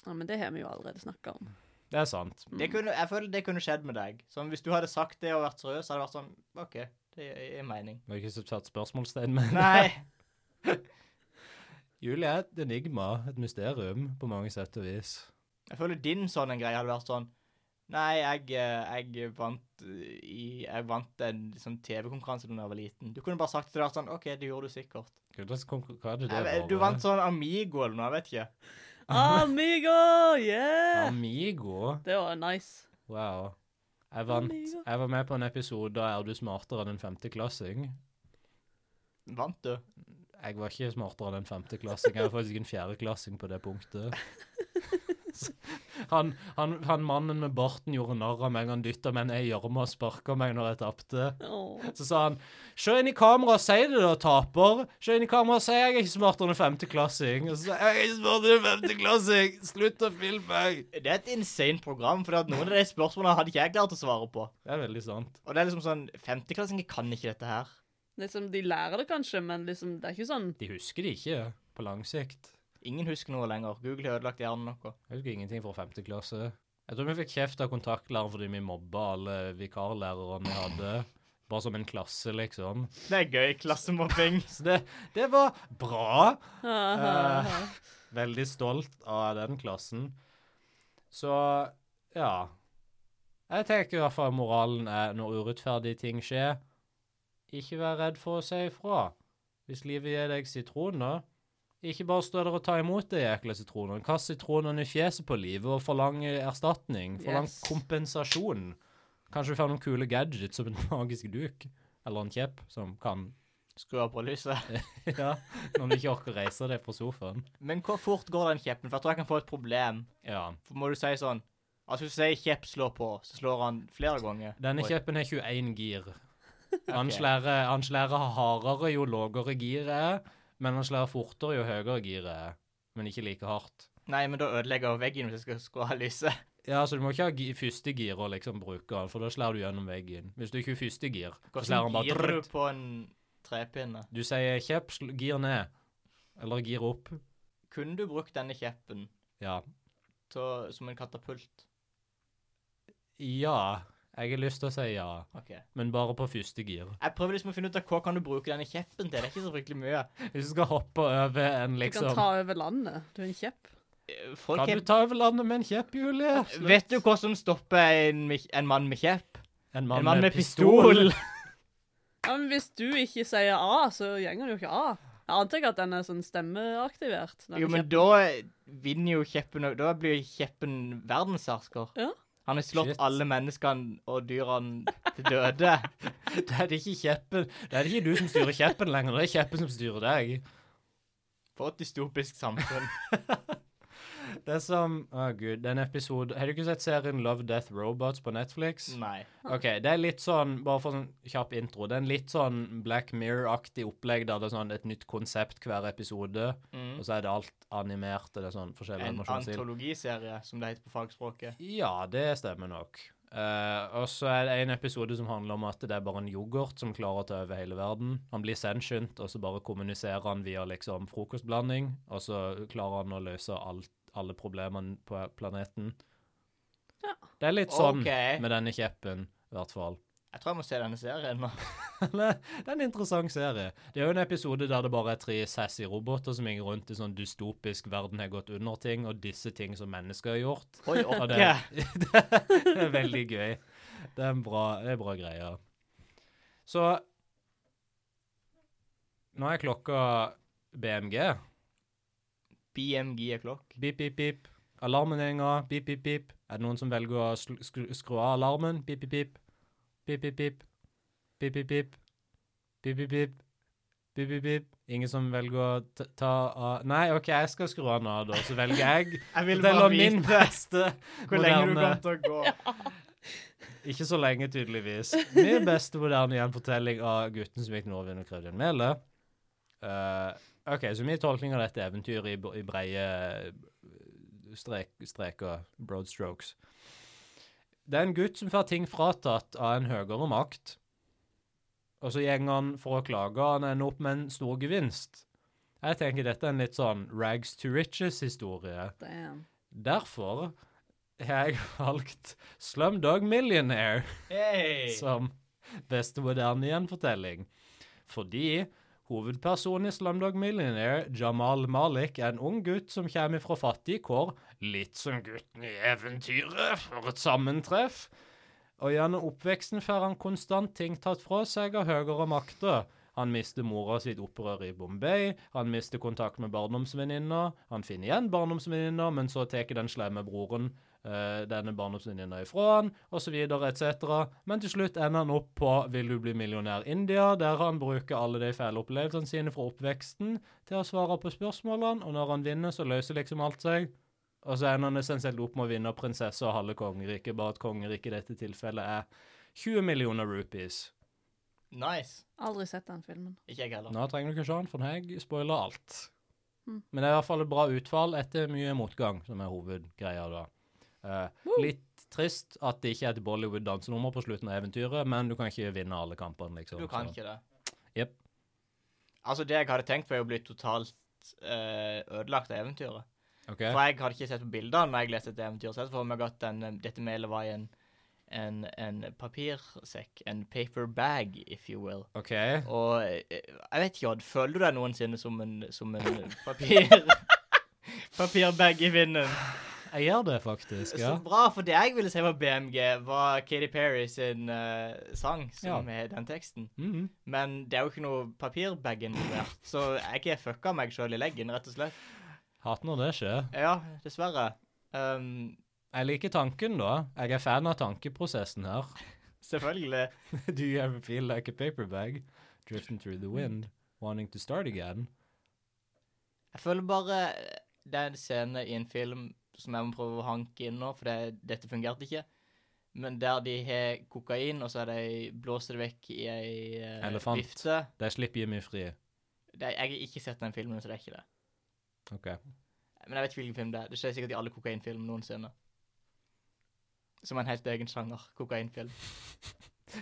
[SPEAKER 2] Ja, men det har vi jo allerede snakka
[SPEAKER 1] [laughs]
[SPEAKER 2] om.
[SPEAKER 1] Det er sant.
[SPEAKER 3] Det kunne, jeg føler det kunne skjedd med deg. Sånn, hvis du hadde sagt det og vært seriøs, hadde det vært sånn OK, det
[SPEAKER 1] [laughs]
[SPEAKER 3] gir mening.
[SPEAKER 1] Det var ikke så tatt spørsmålstegn, men
[SPEAKER 3] Nei.
[SPEAKER 1] Julie er et enigma, et mysterium, på mange sett og vis.
[SPEAKER 3] Jeg føler din sånn en greie hadde vært sånn Nei, jeg, eh, jeg vant eh, i, Jeg vant en sånn TV-konkurranse da jeg var liten. Du kunne bare sagt til deg sånn OK, det gjorde du sikkert.
[SPEAKER 1] Hvordan altså, kom- Hva hadde det
[SPEAKER 3] Jeg, vet- du vant sånn Amigo eller noe, jeg vet ikke.
[SPEAKER 2] Amigo! Yeah!
[SPEAKER 1] Amigo?
[SPEAKER 2] Det var nice.
[SPEAKER 1] Wow. Jeg vant
[SPEAKER 2] Amigo.
[SPEAKER 1] Jeg var med på en episode av Er du smartere enn en femteklassing?
[SPEAKER 3] Vant du?
[SPEAKER 1] Jeg var ikke smartere enn en femteklassing. Jeg var faktisk en fjerdeklassing på det punktet. Han, han, han mannen med barten gjorde narr av meg. Han dytta meg ned i gjørma og sparka meg når jeg tapte.
[SPEAKER 2] Åh.
[SPEAKER 1] Så sa han Se inn i kamera og si det, da, taper. Se inn i kamera og si jeg er ikke smartere enn en femteklassing. Og så sa jeg jeg er ikke smartere enn en femteklassing. Slutt å filme meg.
[SPEAKER 3] Det er et insane program, for at noen av de spørsmålene hadde ikke jeg klart å svare på.
[SPEAKER 1] Det er veldig sant.
[SPEAKER 3] Og det er liksom sånn Femteklassinger kan ikke dette her.
[SPEAKER 2] Liksom, de lærer det kanskje, men liksom, det er ikke sånn
[SPEAKER 1] De husker det ikke på lang sikt.
[SPEAKER 3] Ingen husker noe lenger. Google har ødelagt hjernen noe.
[SPEAKER 1] Jeg husker ingenting fra femte klasse. Jeg tror vi fikk kjeft av kontaktlæreren fordi vi mobba alle vikarlærerne vi hadde. Bare som en klasse, liksom.
[SPEAKER 3] Det er gøy. Klassemobbing.
[SPEAKER 1] Så det, det var bra.
[SPEAKER 2] ah,
[SPEAKER 1] Veldig stolt av den klassen. Så ja. Jeg tenker i hvert fall moralen er når urettferdige ting skjer, ikke vær redd for å si ifra. Hvis livet gir deg sitroner, ikke bare stå der og ta imot de jækla sitronene. Kast sitronene i fjeset på livet og forlang erstatning. Forlang
[SPEAKER 2] Yes.
[SPEAKER 1] kompensasjon. Kanskje du får noen kule gadgets som en [laughs] magisk duk eller en kjepp som kan [laughs]
[SPEAKER 3] Skru av på lyset.
[SPEAKER 1] Ja, når du ikke orker å reise deg fra sofaen.
[SPEAKER 3] Men hvor fort går den kjeppen? For jeg tror jeg kan få et problem.
[SPEAKER 1] Ja.
[SPEAKER 3] For må du si sånn At hvis du sier kjepp slår på, så slår han flere ganger.
[SPEAKER 1] Denne
[SPEAKER 3] Oi.
[SPEAKER 1] kjeppen har 21 gir. Han
[SPEAKER 3] [laughs] Ok.
[SPEAKER 1] slærer han slærer hardere jo lavere giret er, men han slærer fortere jo høyere giret er. Men ikke like hardt.
[SPEAKER 3] Nei, men da ødelegger jeg veggen hvis jeg skal skru av lyset.
[SPEAKER 1] Ja, så du må ikke ha gi første gir og liksom bruke den, for da slår du gjennom veggen. Hvis du ikke har første gir, [laughs] så slår han
[SPEAKER 3] Hvordan
[SPEAKER 1] bare
[SPEAKER 3] gir
[SPEAKER 1] drrrt.
[SPEAKER 3] du på en trepinne?
[SPEAKER 1] Du sier kjepp, sl- gir ned. Eller gir opp.
[SPEAKER 3] Kunne du brukt denne kjeppen
[SPEAKER 1] Ja.
[SPEAKER 3] til, som en katapult?
[SPEAKER 1] Ja. Jeg har lyst til å si ja,
[SPEAKER 3] OK.
[SPEAKER 1] men bare på første gir. [laughs]
[SPEAKER 3] Jeg prøver liksom å finne ut av hva kan du bruke denne kjeppen til. Det er ikke så fryktelig mye.
[SPEAKER 1] Hvis du skal hoppe over en
[SPEAKER 2] du kan
[SPEAKER 1] liksom
[SPEAKER 2] ta over landet. Du er en kjepp.
[SPEAKER 3] Eh, Folk
[SPEAKER 1] Kan
[SPEAKER 3] har
[SPEAKER 1] du ta over landet med en kjepp, Julie?
[SPEAKER 3] Vet du hva som stopper en, mi- en mann med kjepp?
[SPEAKER 1] En
[SPEAKER 3] En mann med pistol!
[SPEAKER 2] Ja, men hvis du ikke sier A, så gjenger du jo ikke A. Jeg antar ikke at den er sånn stemmeaktivert. denne
[SPEAKER 3] Jo, men
[SPEAKER 2] kjeppen.
[SPEAKER 3] da vinner jo kjeppen Da blir kjeppen verdenshersker.
[SPEAKER 2] Ja.
[SPEAKER 3] Han har slått
[SPEAKER 1] Shit.
[SPEAKER 3] alle menneskene og dyrene til døde.
[SPEAKER 1] Det er det ikke kjeppen Det er det ikke du som styrer kjeppen lenger, det er kjeppen som styrer deg.
[SPEAKER 3] For et dystopisk samfunn.
[SPEAKER 1] Det er som Å, gud, det er en episode Har du ikke sett serien Love Death Robots på Netflix?
[SPEAKER 3] Nei.
[SPEAKER 1] OK, det er litt sånn, bare for en sånn kjapp intro, det er en litt sånn Black Mirror-aktig opplegg der det er sånn et nytt konsept hver episode,
[SPEAKER 3] Mm.
[SPEAKER 1] og så er det alt animert, og det er sånn forskjellige
[SPEAKER 3] En
[SPEAKER 1] animasjonsstil.
[SPEAKER 3] antologiserie, som det heter på fagspråket.
[SPEAKER 1] Ja, det stemmer nok. Eh, og så er det en episode som handler om at det er bare en yoghurt som klarer å ta over hele verden. Han blir sentient, og så bare kommuniserer han via liksom frokostblanding. Og så klarer han å løse alt, alle problemene på planeten.
[SPEAKER 2] Ja.
[SPEAKER 1] Det er litt sånn
[SPEAKER 3] OK.
[SPEAKER 1] med denne kjeppen, i hvert fall. [laughs]
[SPEAKER 3] Jeg tror jeg må se denne serien nå.
[SPEAKER 1] det er en interessant serie. Det er jo en episode der det bare er tre sassy roboter som går rundt i sånn dystopisk verden har gått under-ting, og disse ting som mennesker har gjort. Ja,
[SPEAKER 3] Oi, OK.
[SPEAKER 1] det, [laughs] det er veldig gøy. Det er en bra, det er bra greie. Så Nå er klokka BMG.
[SPEAKER 3] BMG er klokk.
[SPEAKER 1] Pip, pip, pip. Alarmen henger. Pip, pip, pip. Er det noen som velger å sl- skru, skru av alarmen? Pip, pip, pip. Pip, pip, pip. Pip, pip, pip. Pip, pip, pip. Pip, pip, pip. Ingen som velger å ta, ta av Nei, OK, jeg skal skru av nå, da. Så velger jeg.
[SPEAKER 3] Jeg vil
[SPEAKER 1] Det
[SPEAKER 3] bare
[SPEAKER 1] var min
[SPEAKER 3] vite
[SPEAKER 1] beste.
[SPEAKER 3] hvor lenge du
[SPEAKER 1] moderne-
[SPEAKER 3] kommer til å
[SPEAKER 2] [laughs]
[SPEAKER 3] gå.
[SPEAKER 1] Ikke så lenge, tydeligvis. Min beste moderne gjenfortelling av gutten som gikk Norvin og krevde en mele. Eh, OK, så min tolkning av dette eventyret i, br- i breie eh, strek, streker, broad strokes Det er en gutt som får ting fratatt av en høyere makt. Og så går han for å klage, og han ender opp med en stor gevinst. Jeg tenker dette er en litt sånn rags to riches-historie.
[SPEAKER 2] Damn.
[SPEAKER 1] Derfor har jeg valgt Slumdog Millionaire som beste moderne gjenfortelling. Fordi hovedpersonen i Slumdog Millionaire, Jamal Malik, er en ung gutt som kommer fra fattige kår, litt som gutten i eventyret, for et sammentreff. Og gjennom oppveksten får han konstant ting tatt fra seg av høyere makter. Han mister mora sitt opprør i Bombay, han mister kontakt med barndomsvenninna, han finner igjen barndomsvenninna, men så tar den slemme broren eh, denne barndomsvenninna ifra han, osv., etc. Men til slutt ender han opp på Vil du bli millionær India, der han bruker alle de fæle opplevelsene sine fra oppveksten til å svare på spørsmålene, og når han vinner, så løser liksom alt seg. Og så ender han essensielt opp med å vinne prinsesse og halve kongeriket, bare at kongeriket i dette tilfellet er 20 millioner rupees.
[SPEAKER 3] Nice.
[SPEAKER 2] Aldri sett den filmen.
[SPEAKER 3] Ikke jeg heller.
[SPEAKER 1] Nå trenger du ikke se den, for jeg spoiler alt.
[SPEAKER 2] Mm.
[SPEAKER 1] Men det er i hvert fall et bra utfall etter mye motgang, som er hovedgreia da. Eh,
[SPEAKER 2] Woo!
[SPEAKER 1] litt trist at det ikke er et Bollywood-dansenummer på slutten av eventyret, men du kan ikke vinne alle kampene, liksom.
[SPEAKER 3] Du kan
[SPEAKER 1] så-
[SPEAKER 3] ikke det.
[SPEAKER 1] Jep.
[SPEAKER 3] Altså, det jeg hadde tenkt, var jo å bli totalt eh, ødelagt av eventyret.
[SPEAKER 1] Ok?
[SPEAKER 3] For jeg hadde ikke sett på bildene når jeg leste et eventyr. Så jeg så for meg at den, eh, dette melet var i en, en, en papirsekk. En paper bag, if you will.
[SPEAKER 1] Ok.
[SPEAKER 3] Og eh, jeg vet ikke, Odd, føler du deg noensinne som en, som en papir... [laughs] Papirbag i vinden.
[SPEAKER 1] Jeg gjør det faktisk,
[SPEAKER 3] [laughs] Så
[SPEAKER 1] ja.
[SPEAKER 3] bra, for det jeg ville si var BMG, var Katy Perry sin eh, sang, som er den teksten.
[SPEAKER 1] Mhm.
[SPEAKER 3] Men det er jo ikke noe papirbag involvert, så jeg ikke fucka meg sjøl i leggen, rett og slett.
[SPEAKER 1] Hater når det skjer.
[SPEAKER 3] Ja, dessverre. Um,
[SPEAKER 1] Jeg liker tanken da. Jeg er fan av tankeprosessen her. [laughs]
[SPEAKER 3] selvfølgelig.
[SPEAKER 1] Do you ever feel like a paper bag drifting through the wind, wanting to start again?
[SPEAKER 3] Jeg føler bare det er en scene i en film som jeg må prøve å hanke inn nå, for det, dette fungerte ikke. Men der de har kokain, og så er de blåser det vekk i ei eh,
[SPEAKER 1] Elefant.
[SPEAKER 3] vifte.
[SPEAKER 1] Det slipper Jimmy fri.
[SPEAKER 3] Det, jeg har ikke sett den filmen, så det er ikke det.
[SPEAKER 1] Ok.
[SPEAKER 3] Men jeg vet ikke hvilken film det er. Det skjer sikkert i alle kokainfilmer noensinne. Som en helt egen sjanger. Kokainfilm.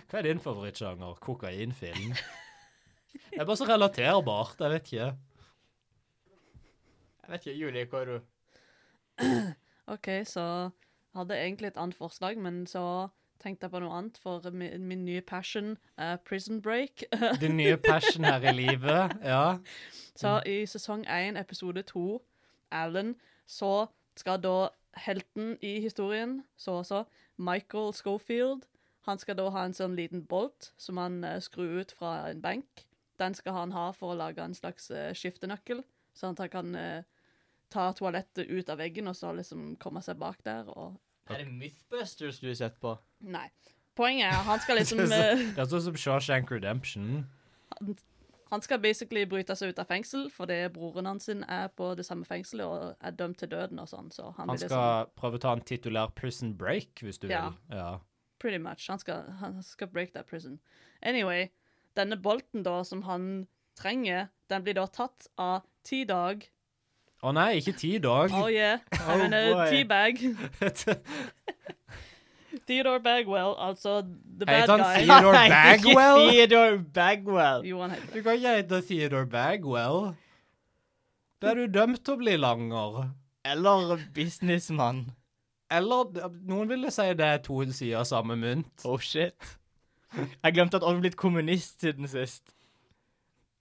[SPEAKER 1] Hva er din favorittsjanger?
[SPEAKER 3] [laughs]
[SPEAKER 1] Kokainfilm? Det er bare så relaterbart, jeg vet ikke.
[SPEAKER 3] Jeg vet ikke, Julie, hva er du?
[SPEAKER 2] OK, så hadde jeg egentlig et annet forslag, men så tenkte jeg på noe annet, for min, min nye passion er Prison Break.
[SPEAKER 1] Din nye passion her i livet, ja.
[SPEAKER 2] så
[SPEAKER 1] Mm.
[SPEAKER 2] i sesong 1, episode 2, Alan, så skal da helten i historien, så også Michael Schofield, han skal da ha en sånn liten bolt som han eh, skrur ut fra en benk. Den skal han ha for å lage en slags eh, skiftenøkkel, sånn at han kan eh, ta toalettet ut av veggen og så liksom komme seg bak der og
[SPEAKER 3] Er det Mythbusters du har sett på?
[SPEAKER 2] Nei. Poenget er han
[SPEAKER 1] [laughs]
[SPEAKER 2] skal liksom
[SPEAKER 1] Det er
[SPEAKER 2] eh,
[SPEAKER 1] så- det er sånn som Shawshank Redemption.
[SPEAKER 2] Han skal basically bryte seg ut av fengsel fordi broren hans sin er på det samme fengselet og er dømt til døden og sånn. Så han,
[SPEAKER 1] Han
[SPEAKER 2] vil
[SPEAKER 1] skal prøve å ta en titulær prison break, hvis du
[SPEAKER 2] Ja.
[SPEAKER 1] vil. Ja.
[SPEAKER 2] liksom Pretty much. Han skal, han skal break that prison. Anyway, denne bolten da som han trenger, den blir da tatt av T-Dog.
[SPEAKER 1] Å nei, ikke ti dog. [laughs]
[SPEAKER 2] Oh yeah.
[SPEAKER 3] Oh,
[SPEAKER 2] I mean
[SPEAKER 3] boy.
[SPEAKER 2] T-Bag. [laughs] Theodore Bagwell, altså the bad
[SPEAKER 1] Heter han Theodore
[SPEAKER 2] guy.
[SPEAKER 1] Bagwell?
[SPEAKER 3] Ikke [laughs] Theodore Bagwell.
[SPEAKER 2] [laughs] Jo, han heter det.
[SPEAKER 1] Du kan ikke hete Theodore Bagwell. Da er du dømt til å bli langer.
[SPEAKER 3] Eller businessmann.
[SPEAKER 1] Eller noen ville si det er to sider av samme mynt.
[SPEAKER 3] Oh shit. Jeg glemte at Odd er blitt kommunist siden sist.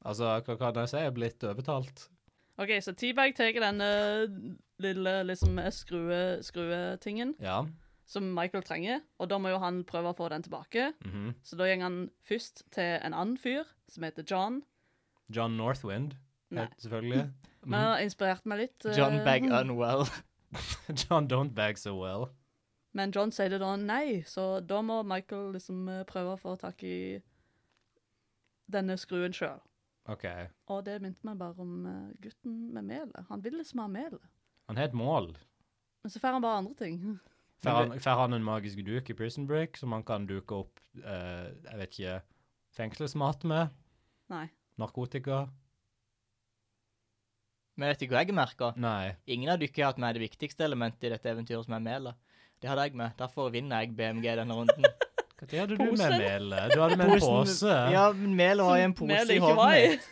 [SPEAKER 1] Altså, hva kan jeg si? Jeg er blitt overtalt.
[SPEAKER 2] OK, så T-Bag tar denne lille liksom skrue- skruetingen.
[SPEAKER 1] Ja.
[SPEAKER 2] som Michael trenger, og da må jo han prøve å få den tilbake.
[SPEAKER 1] Mhm.
[SPEAKER 2] Så da går han først til en annen fyr som heter John.
[SPEAKER 1] John Northwind,
[SPEAKER 2] Nei.
[SPEAKER 1] helt selvfølgelig. [laughs]
[SPEAKER 2] Men han har inspirert meg litt. eh,
[SPEAKER 3] Mhm. John Bag Unwell.
[SPEAKER 1] John Don't Bag So Well.
[SPEAKER 2] Men John sier det da nei, så da må Michael liksom eh, prøve å få tak i denne skruen sjøl.
[SPEAKER 1] OK.
[SPEAKER 2] Og det minte meg bare om eh, gutten med melet. Han vil liksom ha melet.
[SPEAKER 1] Han har et mål.
[SPEAKER 2] Men så får han bare andre ting. [laughs]
[SPEAKER 1] Får
[SPEAKER 3] Men
[SPEAKER 1] han, får han en magisk duk i Prison Break som han kan duke opp eh, jeg vet ikke, fengselsmat med?
[SPEAKER 2] Nei.
[SPEAKER 1] Narkotika?
[SPEAKER 3] Men vet du hva jeg merker?
[SPEAKER 1] Nei.
[SPEAKER 3] Ingen av dere har hatt med det viktigste elementet i dette eventyret, som er melet. Det hadde jeg med. Derfor vinner jeg BMG denne runden.
[SPEAKER 1] Hva hadde du med
[SPEAKER 2] Posen?
[SPEAKER 1] melet? Du hadde med en pose. [laughs]
[SPEAKER 3] Ja, men melet var i en pose
[SPEAKER 2] Melet
[SPEAKER 3] i
[SPEAKER 2] ikke
[SPEAKER 3] hodet
[SPEAKER 2] var i. [laughs]
[SPEAKER 3] mitt.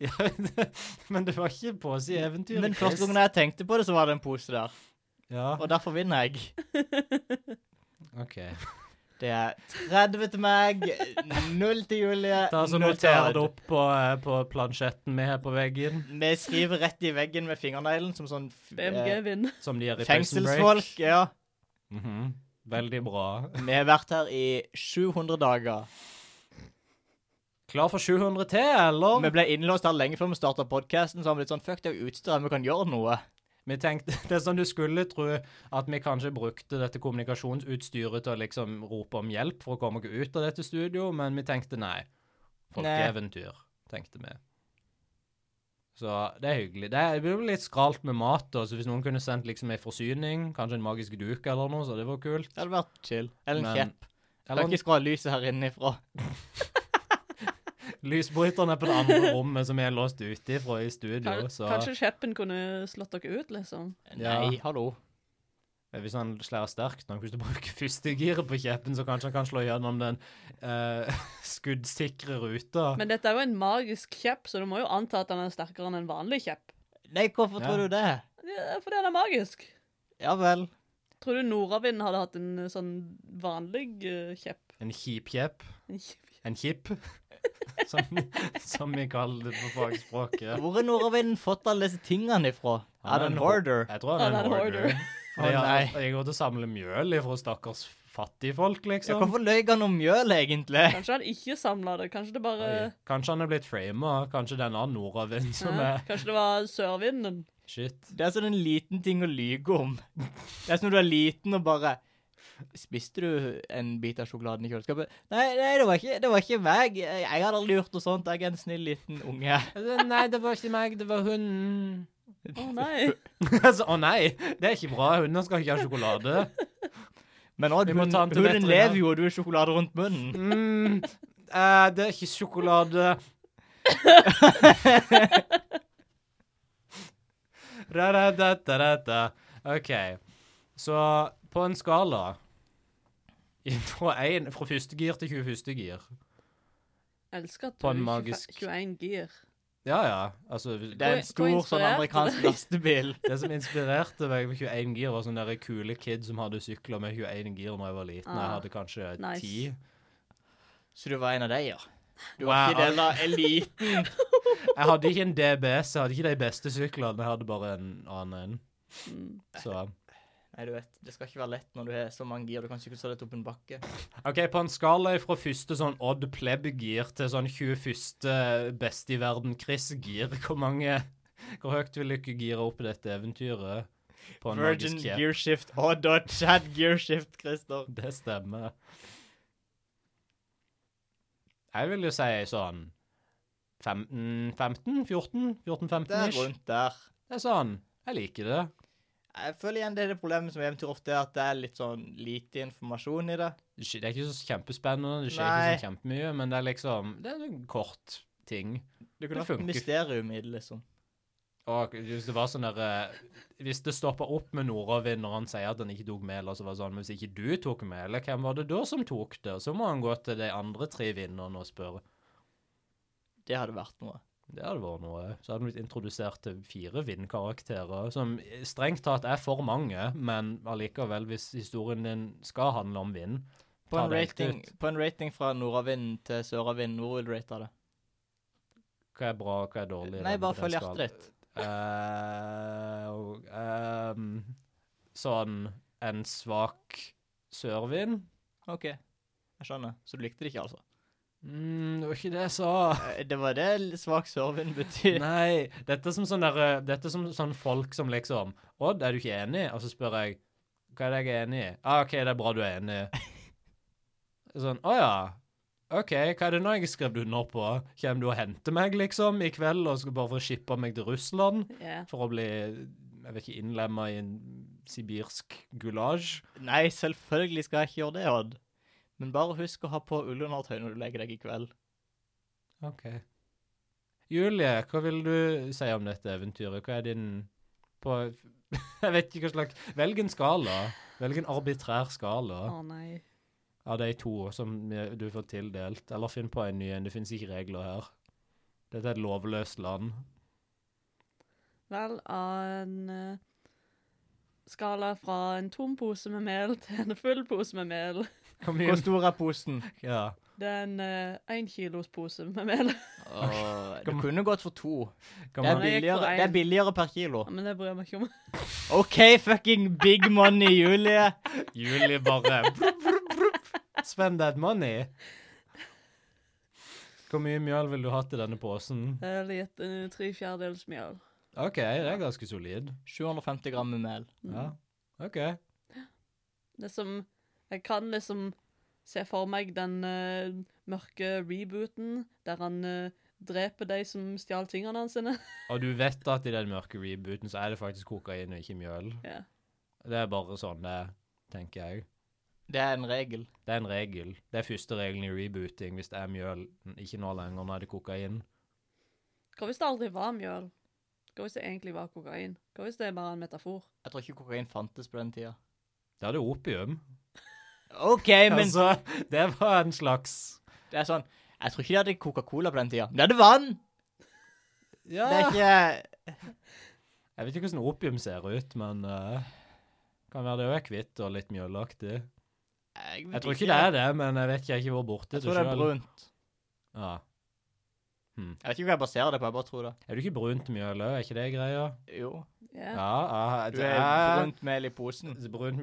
[SPEAKER 1] Ja, men det var ikke en pose i eventyret.
[SPEAKER 3] Men første
[SPEAKER 1] Chris.
[SPEAKER 3] gangen jeg tenkte på det, så var det en pose der.
[SPEAKER 1] Ja,
[SPEAKER 3] og derfor vinner jeg.
[SPEAKER 1] OK.
[SPEAKER 3] Det er 30 til meg, 0 til Julie.
[SPEAKER 1] Da så
[SPEAKER 3] null til
[SPEAKER 1] noterer
[SPEAKER 3] Odd.
[SPEAKER 1] det opp på, eh, på plansjetten vi har på veggen,
[SPEAKER 3] Vi skriver rett i veggen med fingerneglen, som sånn f-
[SPEAKER 2] BMG vinner.
[SPEAKER 1] som de gjør i Prison Break.
[SPEAKER 3] fengselsfolk. Ja.
[SPEAKER 1] Mhm. Veldig bra.
[SPEAKER 3] Vi har vært her i 700 dager.
[SPEAKER 1] Klar for 700 til, eller?
[SPEAKER 3] Vi ble innlåst her lenge før vi starta podkasten, så har vi litt sånn Fuck, det er jo utstyr, vi kan gjøre noe.
[SPEAKER 1] Vi tenkte, [laughs] Det er sånn du skulle tro at vi kanskje brukte dette kommunikasjonsutstyret til å liksom rope om hjelp for å komme oss ut av dette studio, men vi tenkte nei. Folkeeventyr, tenkte vi. Så det er hyggelig. Det er- det blir jo litt skralt med mat, da, så hvis noen kunne sendt liksom ei forsyning, kanskje en magisk duk eller noe, så hadde det vært kult.
[SPEAKER 3] Det hadde vært chill. Eller en
[SPEAKER 1] Men-
[SPEAKER 3] kjepp.
[SPEAKER 1] Eller
[SPEAKER 3] Kan ikke skru av lyset her innifra.
[SPEAKER 1] lysbryteren er på det andre rommet som vi er låst ute ifra i studio,
[SPEAKER 2] Kanskje,
[SPEAKER 1] så
[SPEAKER 2] kanskje kjeppen kunne slått dere ut, liksom.
[SPEAKER 1] Ja.
[SPEAKER 3] Nei, hallo.
[SPEAKER 1] Eh, Hvis han slår sterkt nok, hvis du bruker førstegiret på kjeppen, så kanskje han kan slå gjennom den eh, [laughs] skuddsikre ruta.
[SPEAKER 2] Men dette er jo en magisk kjepp, så du må jo anta at den er sterkere enn en vanlig kjepp.
[SPEAKER 3] Nei, hvorfor
[SPEAKER 1] Ja.
[SPEAKER 3] tror du det?
[SPEAKER 2] Ja, Fordi den er magisk.
[SPEAKER 3] Ja vel.
[SPEAKER 2] Tror du Nordavind hadde hatt en eh, sånn vanlig eh, kjepp?
[SPEAKER 1] En kjip kjepp.
[SPEAKER 2] En kjepp?
[SPEAKER 1] En kjipp. [laughs] som, som vi kaller det på fagspråket.
[SPEAKER 3] Hvor har nordavinden fått alle disse tingene ifra?
[SPEAKER 1] Han er
[SPEAKER 3] Er det en
[SPEAKER 1] en
[SPEAKER 3] hoarder?
[SPEAKER 1] Jeg tror han er en hoarder. [laughs]
[SPEAKER 3] Å,
[SPEAKER 1] Jeg
[SPEAKER 3] nei.
[SPEAKER 1] har- jeg går til å samle mjøl ifra stakkars fattigfolk,
[SPEAKER 3] Ja,
[SPEAKER 1] liksom.
[SPEAKER 3] hvorfor løy han om mjøl, egentlig?
[SPEAKER 2] Kanskje han ikke samla det. Kanskje det bare
[SPEAKER 1] Oi. Kanskje han er blitt frama. Kanskje det er en annen nordavind som
[SPEAKER 2] Hæ?
[SPEAKER 1] er
[SPEAKER 2] Kanskje det var sørvinden.
[SPEAKER 1] Shit.
[SPEAKER 3] Det er sånn en liten ting å lyge om. Det er som når du er liten og bare Spiste du en bit av sjokoladen i kjøleskapet? Nei, nei det, var ikke, det var ikke meg. Jeg hadde aldri gjort noe sånt. Jeg er en snill liten unge.
[SPEAKER 1] Nei, det var ikke meg, det var hunden. [laughs]
[SPEAKER 2] Å nei.
[SPEAKER 1] Altså, Å nei, det er ikke bra. Hunder skal ikke ha sjokolade.
[SPEAKER 3] Men nå,
[SPEAKER 1] Vi må
[SPEAKER 3] hun,
[SPEAKER 1] ta han til
[SPEAKER 3] hunden
[SPEAKER 1] veterinær.
[SPEAKER 3] lever jo, og du har sjokolade rundt munnen.
[SPEAKER 1] Mm, eh, det er ikke sjokolade. da, da, da, da, da, da. OK. Så på en skala fra, en, fra første gir til 21. gir
[SPEAKER 2] Elsker at
[SPEAKER 1] På en
[SPEAKER 2] du
[SPEAKER 1] magisk-
[SPEAKER 2] 21 gir.
[SPEAKER 1] Ja, ja. Altså, hvis-
[SPEAKER 3] Det er en
[SPEAKER 2] Hvor- hvor
[SPEAKER 3] stor sånn
[SPEAKER 2] inspirert
[SPEAKER 3] amerikansk
[SPEAKER 2] er det?
[SPEAKER 3] lastebil.
[SPEAKER 1] det som inspirerte meg med 21 gir, var sånne der kule kid som hadde sykler med 21 gir da jeg var liten. Jeg
[SPEAKER 2] Ah,
[SPEAKER 1] hadde kanskje
[SPEAKER 2] nice.
[SPEAKER 1] 10.
[SPEAKER 3] Så du var en av de, ja? Du var ikke del av eliten.
[SPEAKER 1] Jeg hadde ikke en DBS, jeg hadde ikke de beste syklene, jeg hadde bare en annen en.
[SPEAKER 2] Mm.
[SPEAKER 1] Så
[SPEAKER 3] Nei, du vet, det skal ikke være lett når du har så mange gir. Du kan ikke så lett opp en bakke.
[SPEAKER 1] Ok, på en skala fra første sånn Odd Pleb-gir til sånn 21. best i verden Chris-gir, hvor mange Hvor høyt vil dere gire opp dette eventyret? På en
[SPEAKER 3] Virgin
[SPEAKER 1] magisk kjepp?
[SPEAKER 3] Gearshift og da Chad Gearshift, Christer.
[SPEAKER 1] Det stemmer. Jeg vil jo si sånn 15? 15? 14? 14-15
[SPEAKER 3] Det er
[SPEAKER 1] ish?
[SPEAKER 3] rundt der.
[SPEAKER 1] Det er sånn. Jeg liker det.
[SPEAKER 3] Jeg føler igjen det er det problemet som eventyr ofte er, at det er litt sånn lite informasjon i det.
[SPEAKER 1] Det skj- det er ikke så kjempespennende, det skjer
[SPEAKER 3] Nei.
[SPEAKER 1] ikke så kjempemye, men det er liksom Det er en kort ting.
[SPEAKER 3] Du
[SPEAKER 1] Det
[SPEAKER 3] kunne hatt
[SPEAKER 1] funker.
[SPEAKER 3] et mysterium i det, liksom.
[SPEAKER 1] Og hvis det var sånn der eh, Hvis det stoppa opp med Nordavind når han sier at han ikke tok med, eller så var det sånn Men hvis ikke du tok med, eller hvem var det da som tok det? Så må han gå til de andre tre vinnerne og spørre.
[SPEAKER 3] Det hadde vært noe.
[SPEAKER 1] Det hadde vært noe. Så hadde han blitt introdusert til fire vindkarakterer, som strengt tatt er for mange, men allikevel, hvis historien din skal handle om vind
[SPEAKER 3] På
[SPEAKER 1] ta
[SPEAKER 3] en,
[SPEAKER 1] det helt
[SPEAKER 3] rating,
[SPEAKER 1] ut.
[SPEAKER 3] på en rating fra nordavinden til søravinden, hvor vil du rate det?
[SPEAKER 1] Hva er bra, hva er dårlig? i
[SPEAKER 3] Nei,
[SPEAKER 1] den-
[SPEAKER 3] bare
[SPEAKER 1] den
[SPEAKER 3] følg
[SPEAKER 1] skalaen?
[SPEAKER 3] hjertet ditt.
[SPEAKER 1] Eh, og, ehm, sånn en svak sørvind.
[SPEAKER 3] OK. Jeg skjønner. Så du likte det ikke, altså?
[SPEAKER 1] Mm, det var ikke det jeg sa.
[SPEAKER 3] Eh, Det var det l- svak sørvind betyr.
[SPEAKER 1] Nei. Dette er som sånn derre- dette er som sånn folk som liksom Odd, er du ikke enig? Og så spør jeg hva er det jeg er enig i? Ah, OK, det er bra du er enig. Sånn Å ja. OK, hva er det nå jeg har skrevet under på? Kommer du og henter meg, liksom, i kveld, og skal bare få shippa meg til Russland
[SPEAKER 2] Ja.
[SPEAKER 1] for å bli jeg vet ikke, innlemma i en sibirsk gulasj?
[SPEAKER 3] Nei, selvfølgelig skal jeg ikke gjøre det, Odd. Men bare husk å ha på ullundertøy når du legger deg i kveld.
[SPEAKER 1] OK. Julie, hva vil du si om dette eventyret? Hva er din på [laughs] Jeg vet ikke hva slags Velg en skala. Velg en arbitrær skala
[SPEAKER 2] Å nei.
[SPEAKER 1] av de to som du får tildelt. Eller finn på en ny en. Det finnes ikke regler her. Dette er et lovløst land.
[SPEAKER 2] Vel, av en eh, skala fra en tom pose med mel [laughs] til en full pose med mel.
[SPEAKER 1] Kom
[SPEAKER 3] Hvor
[SPEAKER 1] igjen.
[SPEAKER 3] stor er posen?
[SPEAKER 1] Ja.
[SPEAKER 2] Det er en énkilos pose med mel. [laughs]
[SPEAKER 3] Åh, du kunne gått for to.
[SPEAKER 1] Kom
[SPEAKER 3] Det er
[SPEAKER 1] an.
[SPEAKER 2] Nei, jeg gikk for
[SPEAKER 3] billigere, det
[SPEAKER 2] en.
[SPEAKER 3] er billigere per kilo.
[SPEAKER 2] Ja, Men det bryr jeg meg ikke om.
[SPEAKER 3] OK, fucking big money, Julie.
[SPEAKER 1] Julie bare brup, brup, brup. Spend that money. Hvor mye mjøl vil du ha til denne posen?
[SPEAKER 2] Det er litt eh, tre fjerdedels mjøl.
[SPEAKER 1] OK, det er ganske solid.
[SPEAKER 3] 750 gram med mel.
[SPEAKER 1] Ja. OK.
[SPEAKER 2] Det som Jeg kan liksom se for meg den eh, mørke rebooten der han eh, dreper de som stjal tingene hans sine. [laughs]
[SPEAKER 1] Og du vet at i den mørke rebooten så er det faktisk kokain og ikke mjøl.
[SPEAKER 2] Ja.
[SPEAKER 1] Det er bare sånn det er, tenker jeg.
[SPEAKER 3] Det er en regel.
[SPEAKER 1] Det er en regel. Det er første regelen i rebooting hvis det er mjøl. Ikke nå lenger, nå er det kokain.
[SPEAKER 2] Hva hvis det aldri var mjøl? Hva hvis det egentlig var kokain? Hva hvis det er bare en metafor?
[SPEAKER 3] Jeg tror ikke kokain fantes på den tida.
[SPEAKER 1] Da er det opium.
[SPEAKER 3] OK, men
[SPEAKER 1] Altså, det var en slags
[SPEAKER 3] det er sånn Jeg tror ikke de hadde Coca-Cola på den tida. De hadde vann!
[SPEAKER 1] Ja.
[SPEAKER 3] Det er ikke
[SPEAKER 1] Jeg vet ikke hvordan opium ser ut, men eh, kan være det òg er hvitt og litt mjølaktig. Jeg tror ikke det er det, men jeg vet ikke, jeg har ikke vært borti
[SPEAKER 3] Jeg tror det er
[SPEAKER 1] selv.
[SPEAKER 3] brunt.
[SPEAKER 1] Ja.
[SPEAKER 3] Jeg vet ikke hva jeg baserer det på, jeg bare tror det.
[SPEAKER 1] Er du ikke brunt mjøl òg, er ikke det greia?
[SPEAKER 3] Jo.
[SPEAKER 2] Ja.
[SPEAKER 1] Ja, ja
[SPEAKER 3] Du
[SPEAKER 1] det
[SPEAKER 3] er
[SPEAKER 1] er brunt.
[SPEAKER 3] brunt mel i posen.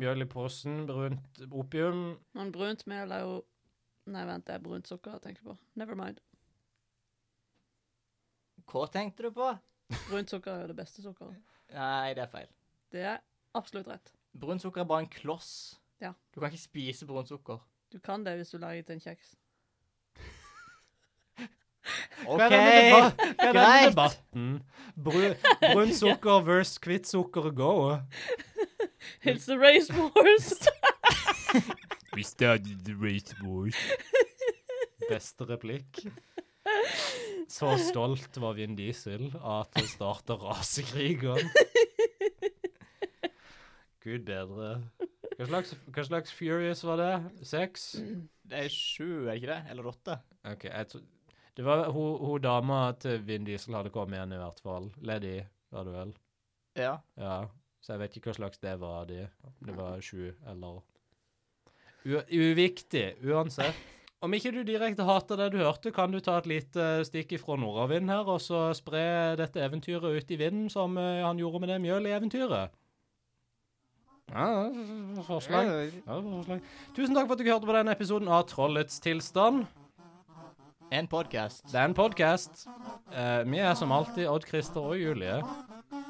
[SPEAKER 1] mjøl i posen, brunt opium
[SPEAKER 2] Men brunt mel er jo Nei, vent, det er brunt sukker jeg tenker på. Never mind.
[SPEAKER 3] Hva tenkte du på?
[SPEAKER 2] Brunt sukker er jo det beste sukkeret.
[SPEAKER 3] Nei, det er feil.
[SPEAKER 2] Det er absolutt rett.
[SPEAKER 3] Brunt sukker er bare en kloss.
[SPEAKER 2] Ja.
[SPEAKER 3] Du kan ikke spise brunt sukker.
[SPEAKER 2] Du kan det hvis du lager til en kjeks.
[SPEAKER 1] Hva er denne deba-
[SPEAKER 3] OK,
[SPEAKER 1] hva er denne
[SPEAKER 3] greit.
[SPEAKER 1] debatten? Bru- brunt sukker versus hvitt sukker go.
[SPEAKER 2] It's the race wars!
[SPEAKER 4] We started the race wars.
[SPEAKER 1] Beste replikk. Så stolt var Vin Diesel av at det starta rasekrigen. Gud bedre. Hva slags, hva slags Furious var det? Seks?
[SPEAKER 3] Det er sju, er det ikke det? Eller åtte?
[SPEAKER 1] OK, jeg tror Det var hun, hun dama til Vin Diesel hadde kommet igjen, i hvert fall. Lady, var det vel?
[SPEAKER 3] Ja.
[SPEAKER 1] Ja. Så jeg vet ikke hva slags det var, de. Om Det var sju, eller U Uviktig, uansett. Om ikke du direkte hater det du hørte, kan du ta et lite eh, stikk ifra nordavind her, og så spre dette eventyret ut i vinden, som eh, han gjorde med det mjølet i eventyret. Ja, forslag. Ja, forslag. Tusen takk for at du hørte på denne episoden av Trollets tilstand.
[SPEAKER 3] En podkast.
[SPEAKER 1] Det er en podkast. vi er som alltid Odd Christer og Julie.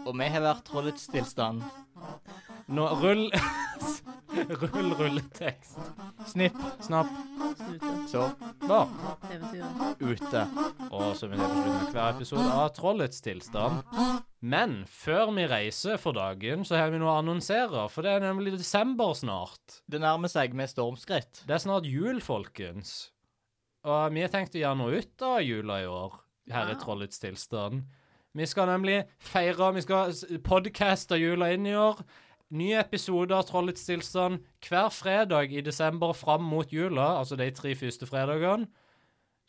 [SPEAKER 3] Og vi har vært trollets tilstand.
[SPEAKER 1] Nå rull [laughs] Rull rulletekst.
[SPEAKER 3] Snipp,
[SPEAKER 1] Snapp.
[SPEAKER 2] Snute.
[SPEAKER 3] så
[SPEAKER 1] Da.
[SPEAKER 2] Eventyret.
[SPEAKER 3] ute.
[SPEAKER 1] Og så vil jeg på slutten av hver episode av Trollets tilstand. Men før vi reiser for dagen, så har vi noe å annonsere, for det er nemlig desember snart.
[SPEAKER 3] Det nærmer seg med stormskritt.
[SPEAKER 1] Det er snart jul, folkens. Og vi har tenkt å gjøre noe ut av jula i år, her i
[SPEAKER 2] Wow.
[SPEAKER 1] Trollets tilstand. Vi skal nemlig feire Vi skal s- podcaste jula inn i år. Nye episoder av Trollets tilstand hver fredag i desember fram mot jula, altså de tre første fredagene.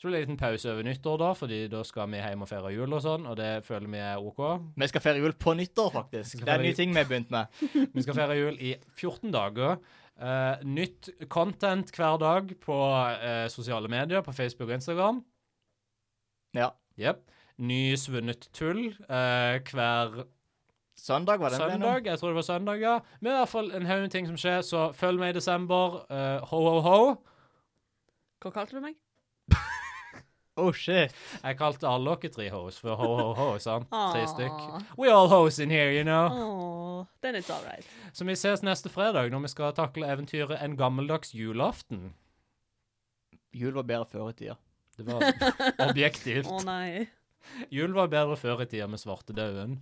[SPEAKER 1] Så blir det en liten pause over nyttår, da, fordi da skal vi hjem og feire jul og sånn, og det føler vi er OK.
[SPEAKER 3] Vi skal feire jul på nyttår, faktisk.
[SPEAKER 1] skal
[SPEAKER 3] Det er en ny
[SPEAKER 1] feire-
[SPEAKER 3] ting vi har begynt med.
[SPEAKER 1] Vi skal feire jul i 14 dager. Eh, nytt content hver dag på eh, sosiale medier, på Facebook og Instagram.
[SPEAKER 3] Ja.
[SPEAKER 1] Jep. Ny svunnet tull eh, hver
[SPEAKER 3] Søndag var den
[SPEAKER 1] søndag. Jeg tror det var søndag, ja. Men i hvert fall en haug ting som skjer, så følg med i desember. Eh, ho, ho, ho.
[SPEAKER 2] [laughs] Hva kalte du meg?
[SPEAKER 3] Oh shit.
[SPEAKER 1] Jeg kalte alle dere tre hoes for ho, ho, ho, sant? Tre
[SPEAKER 2] Åh.
[SPEAKER 1] stykk. We all hoes in here, you know.
[SPEAKER 2] Åh, then it's alright.
[SPEAKER 1] Så vi ses neste fredag, når vi skal takle eventyret En gammeldags julaften.
[SPEAKER 3] Jul var bedre før i tida.
[SPEAKER 1] Det var objektivt.
[SPEAKER 2] Å nei.
[SPEAKER 1] Jul var bedre før i tida med svartedauden.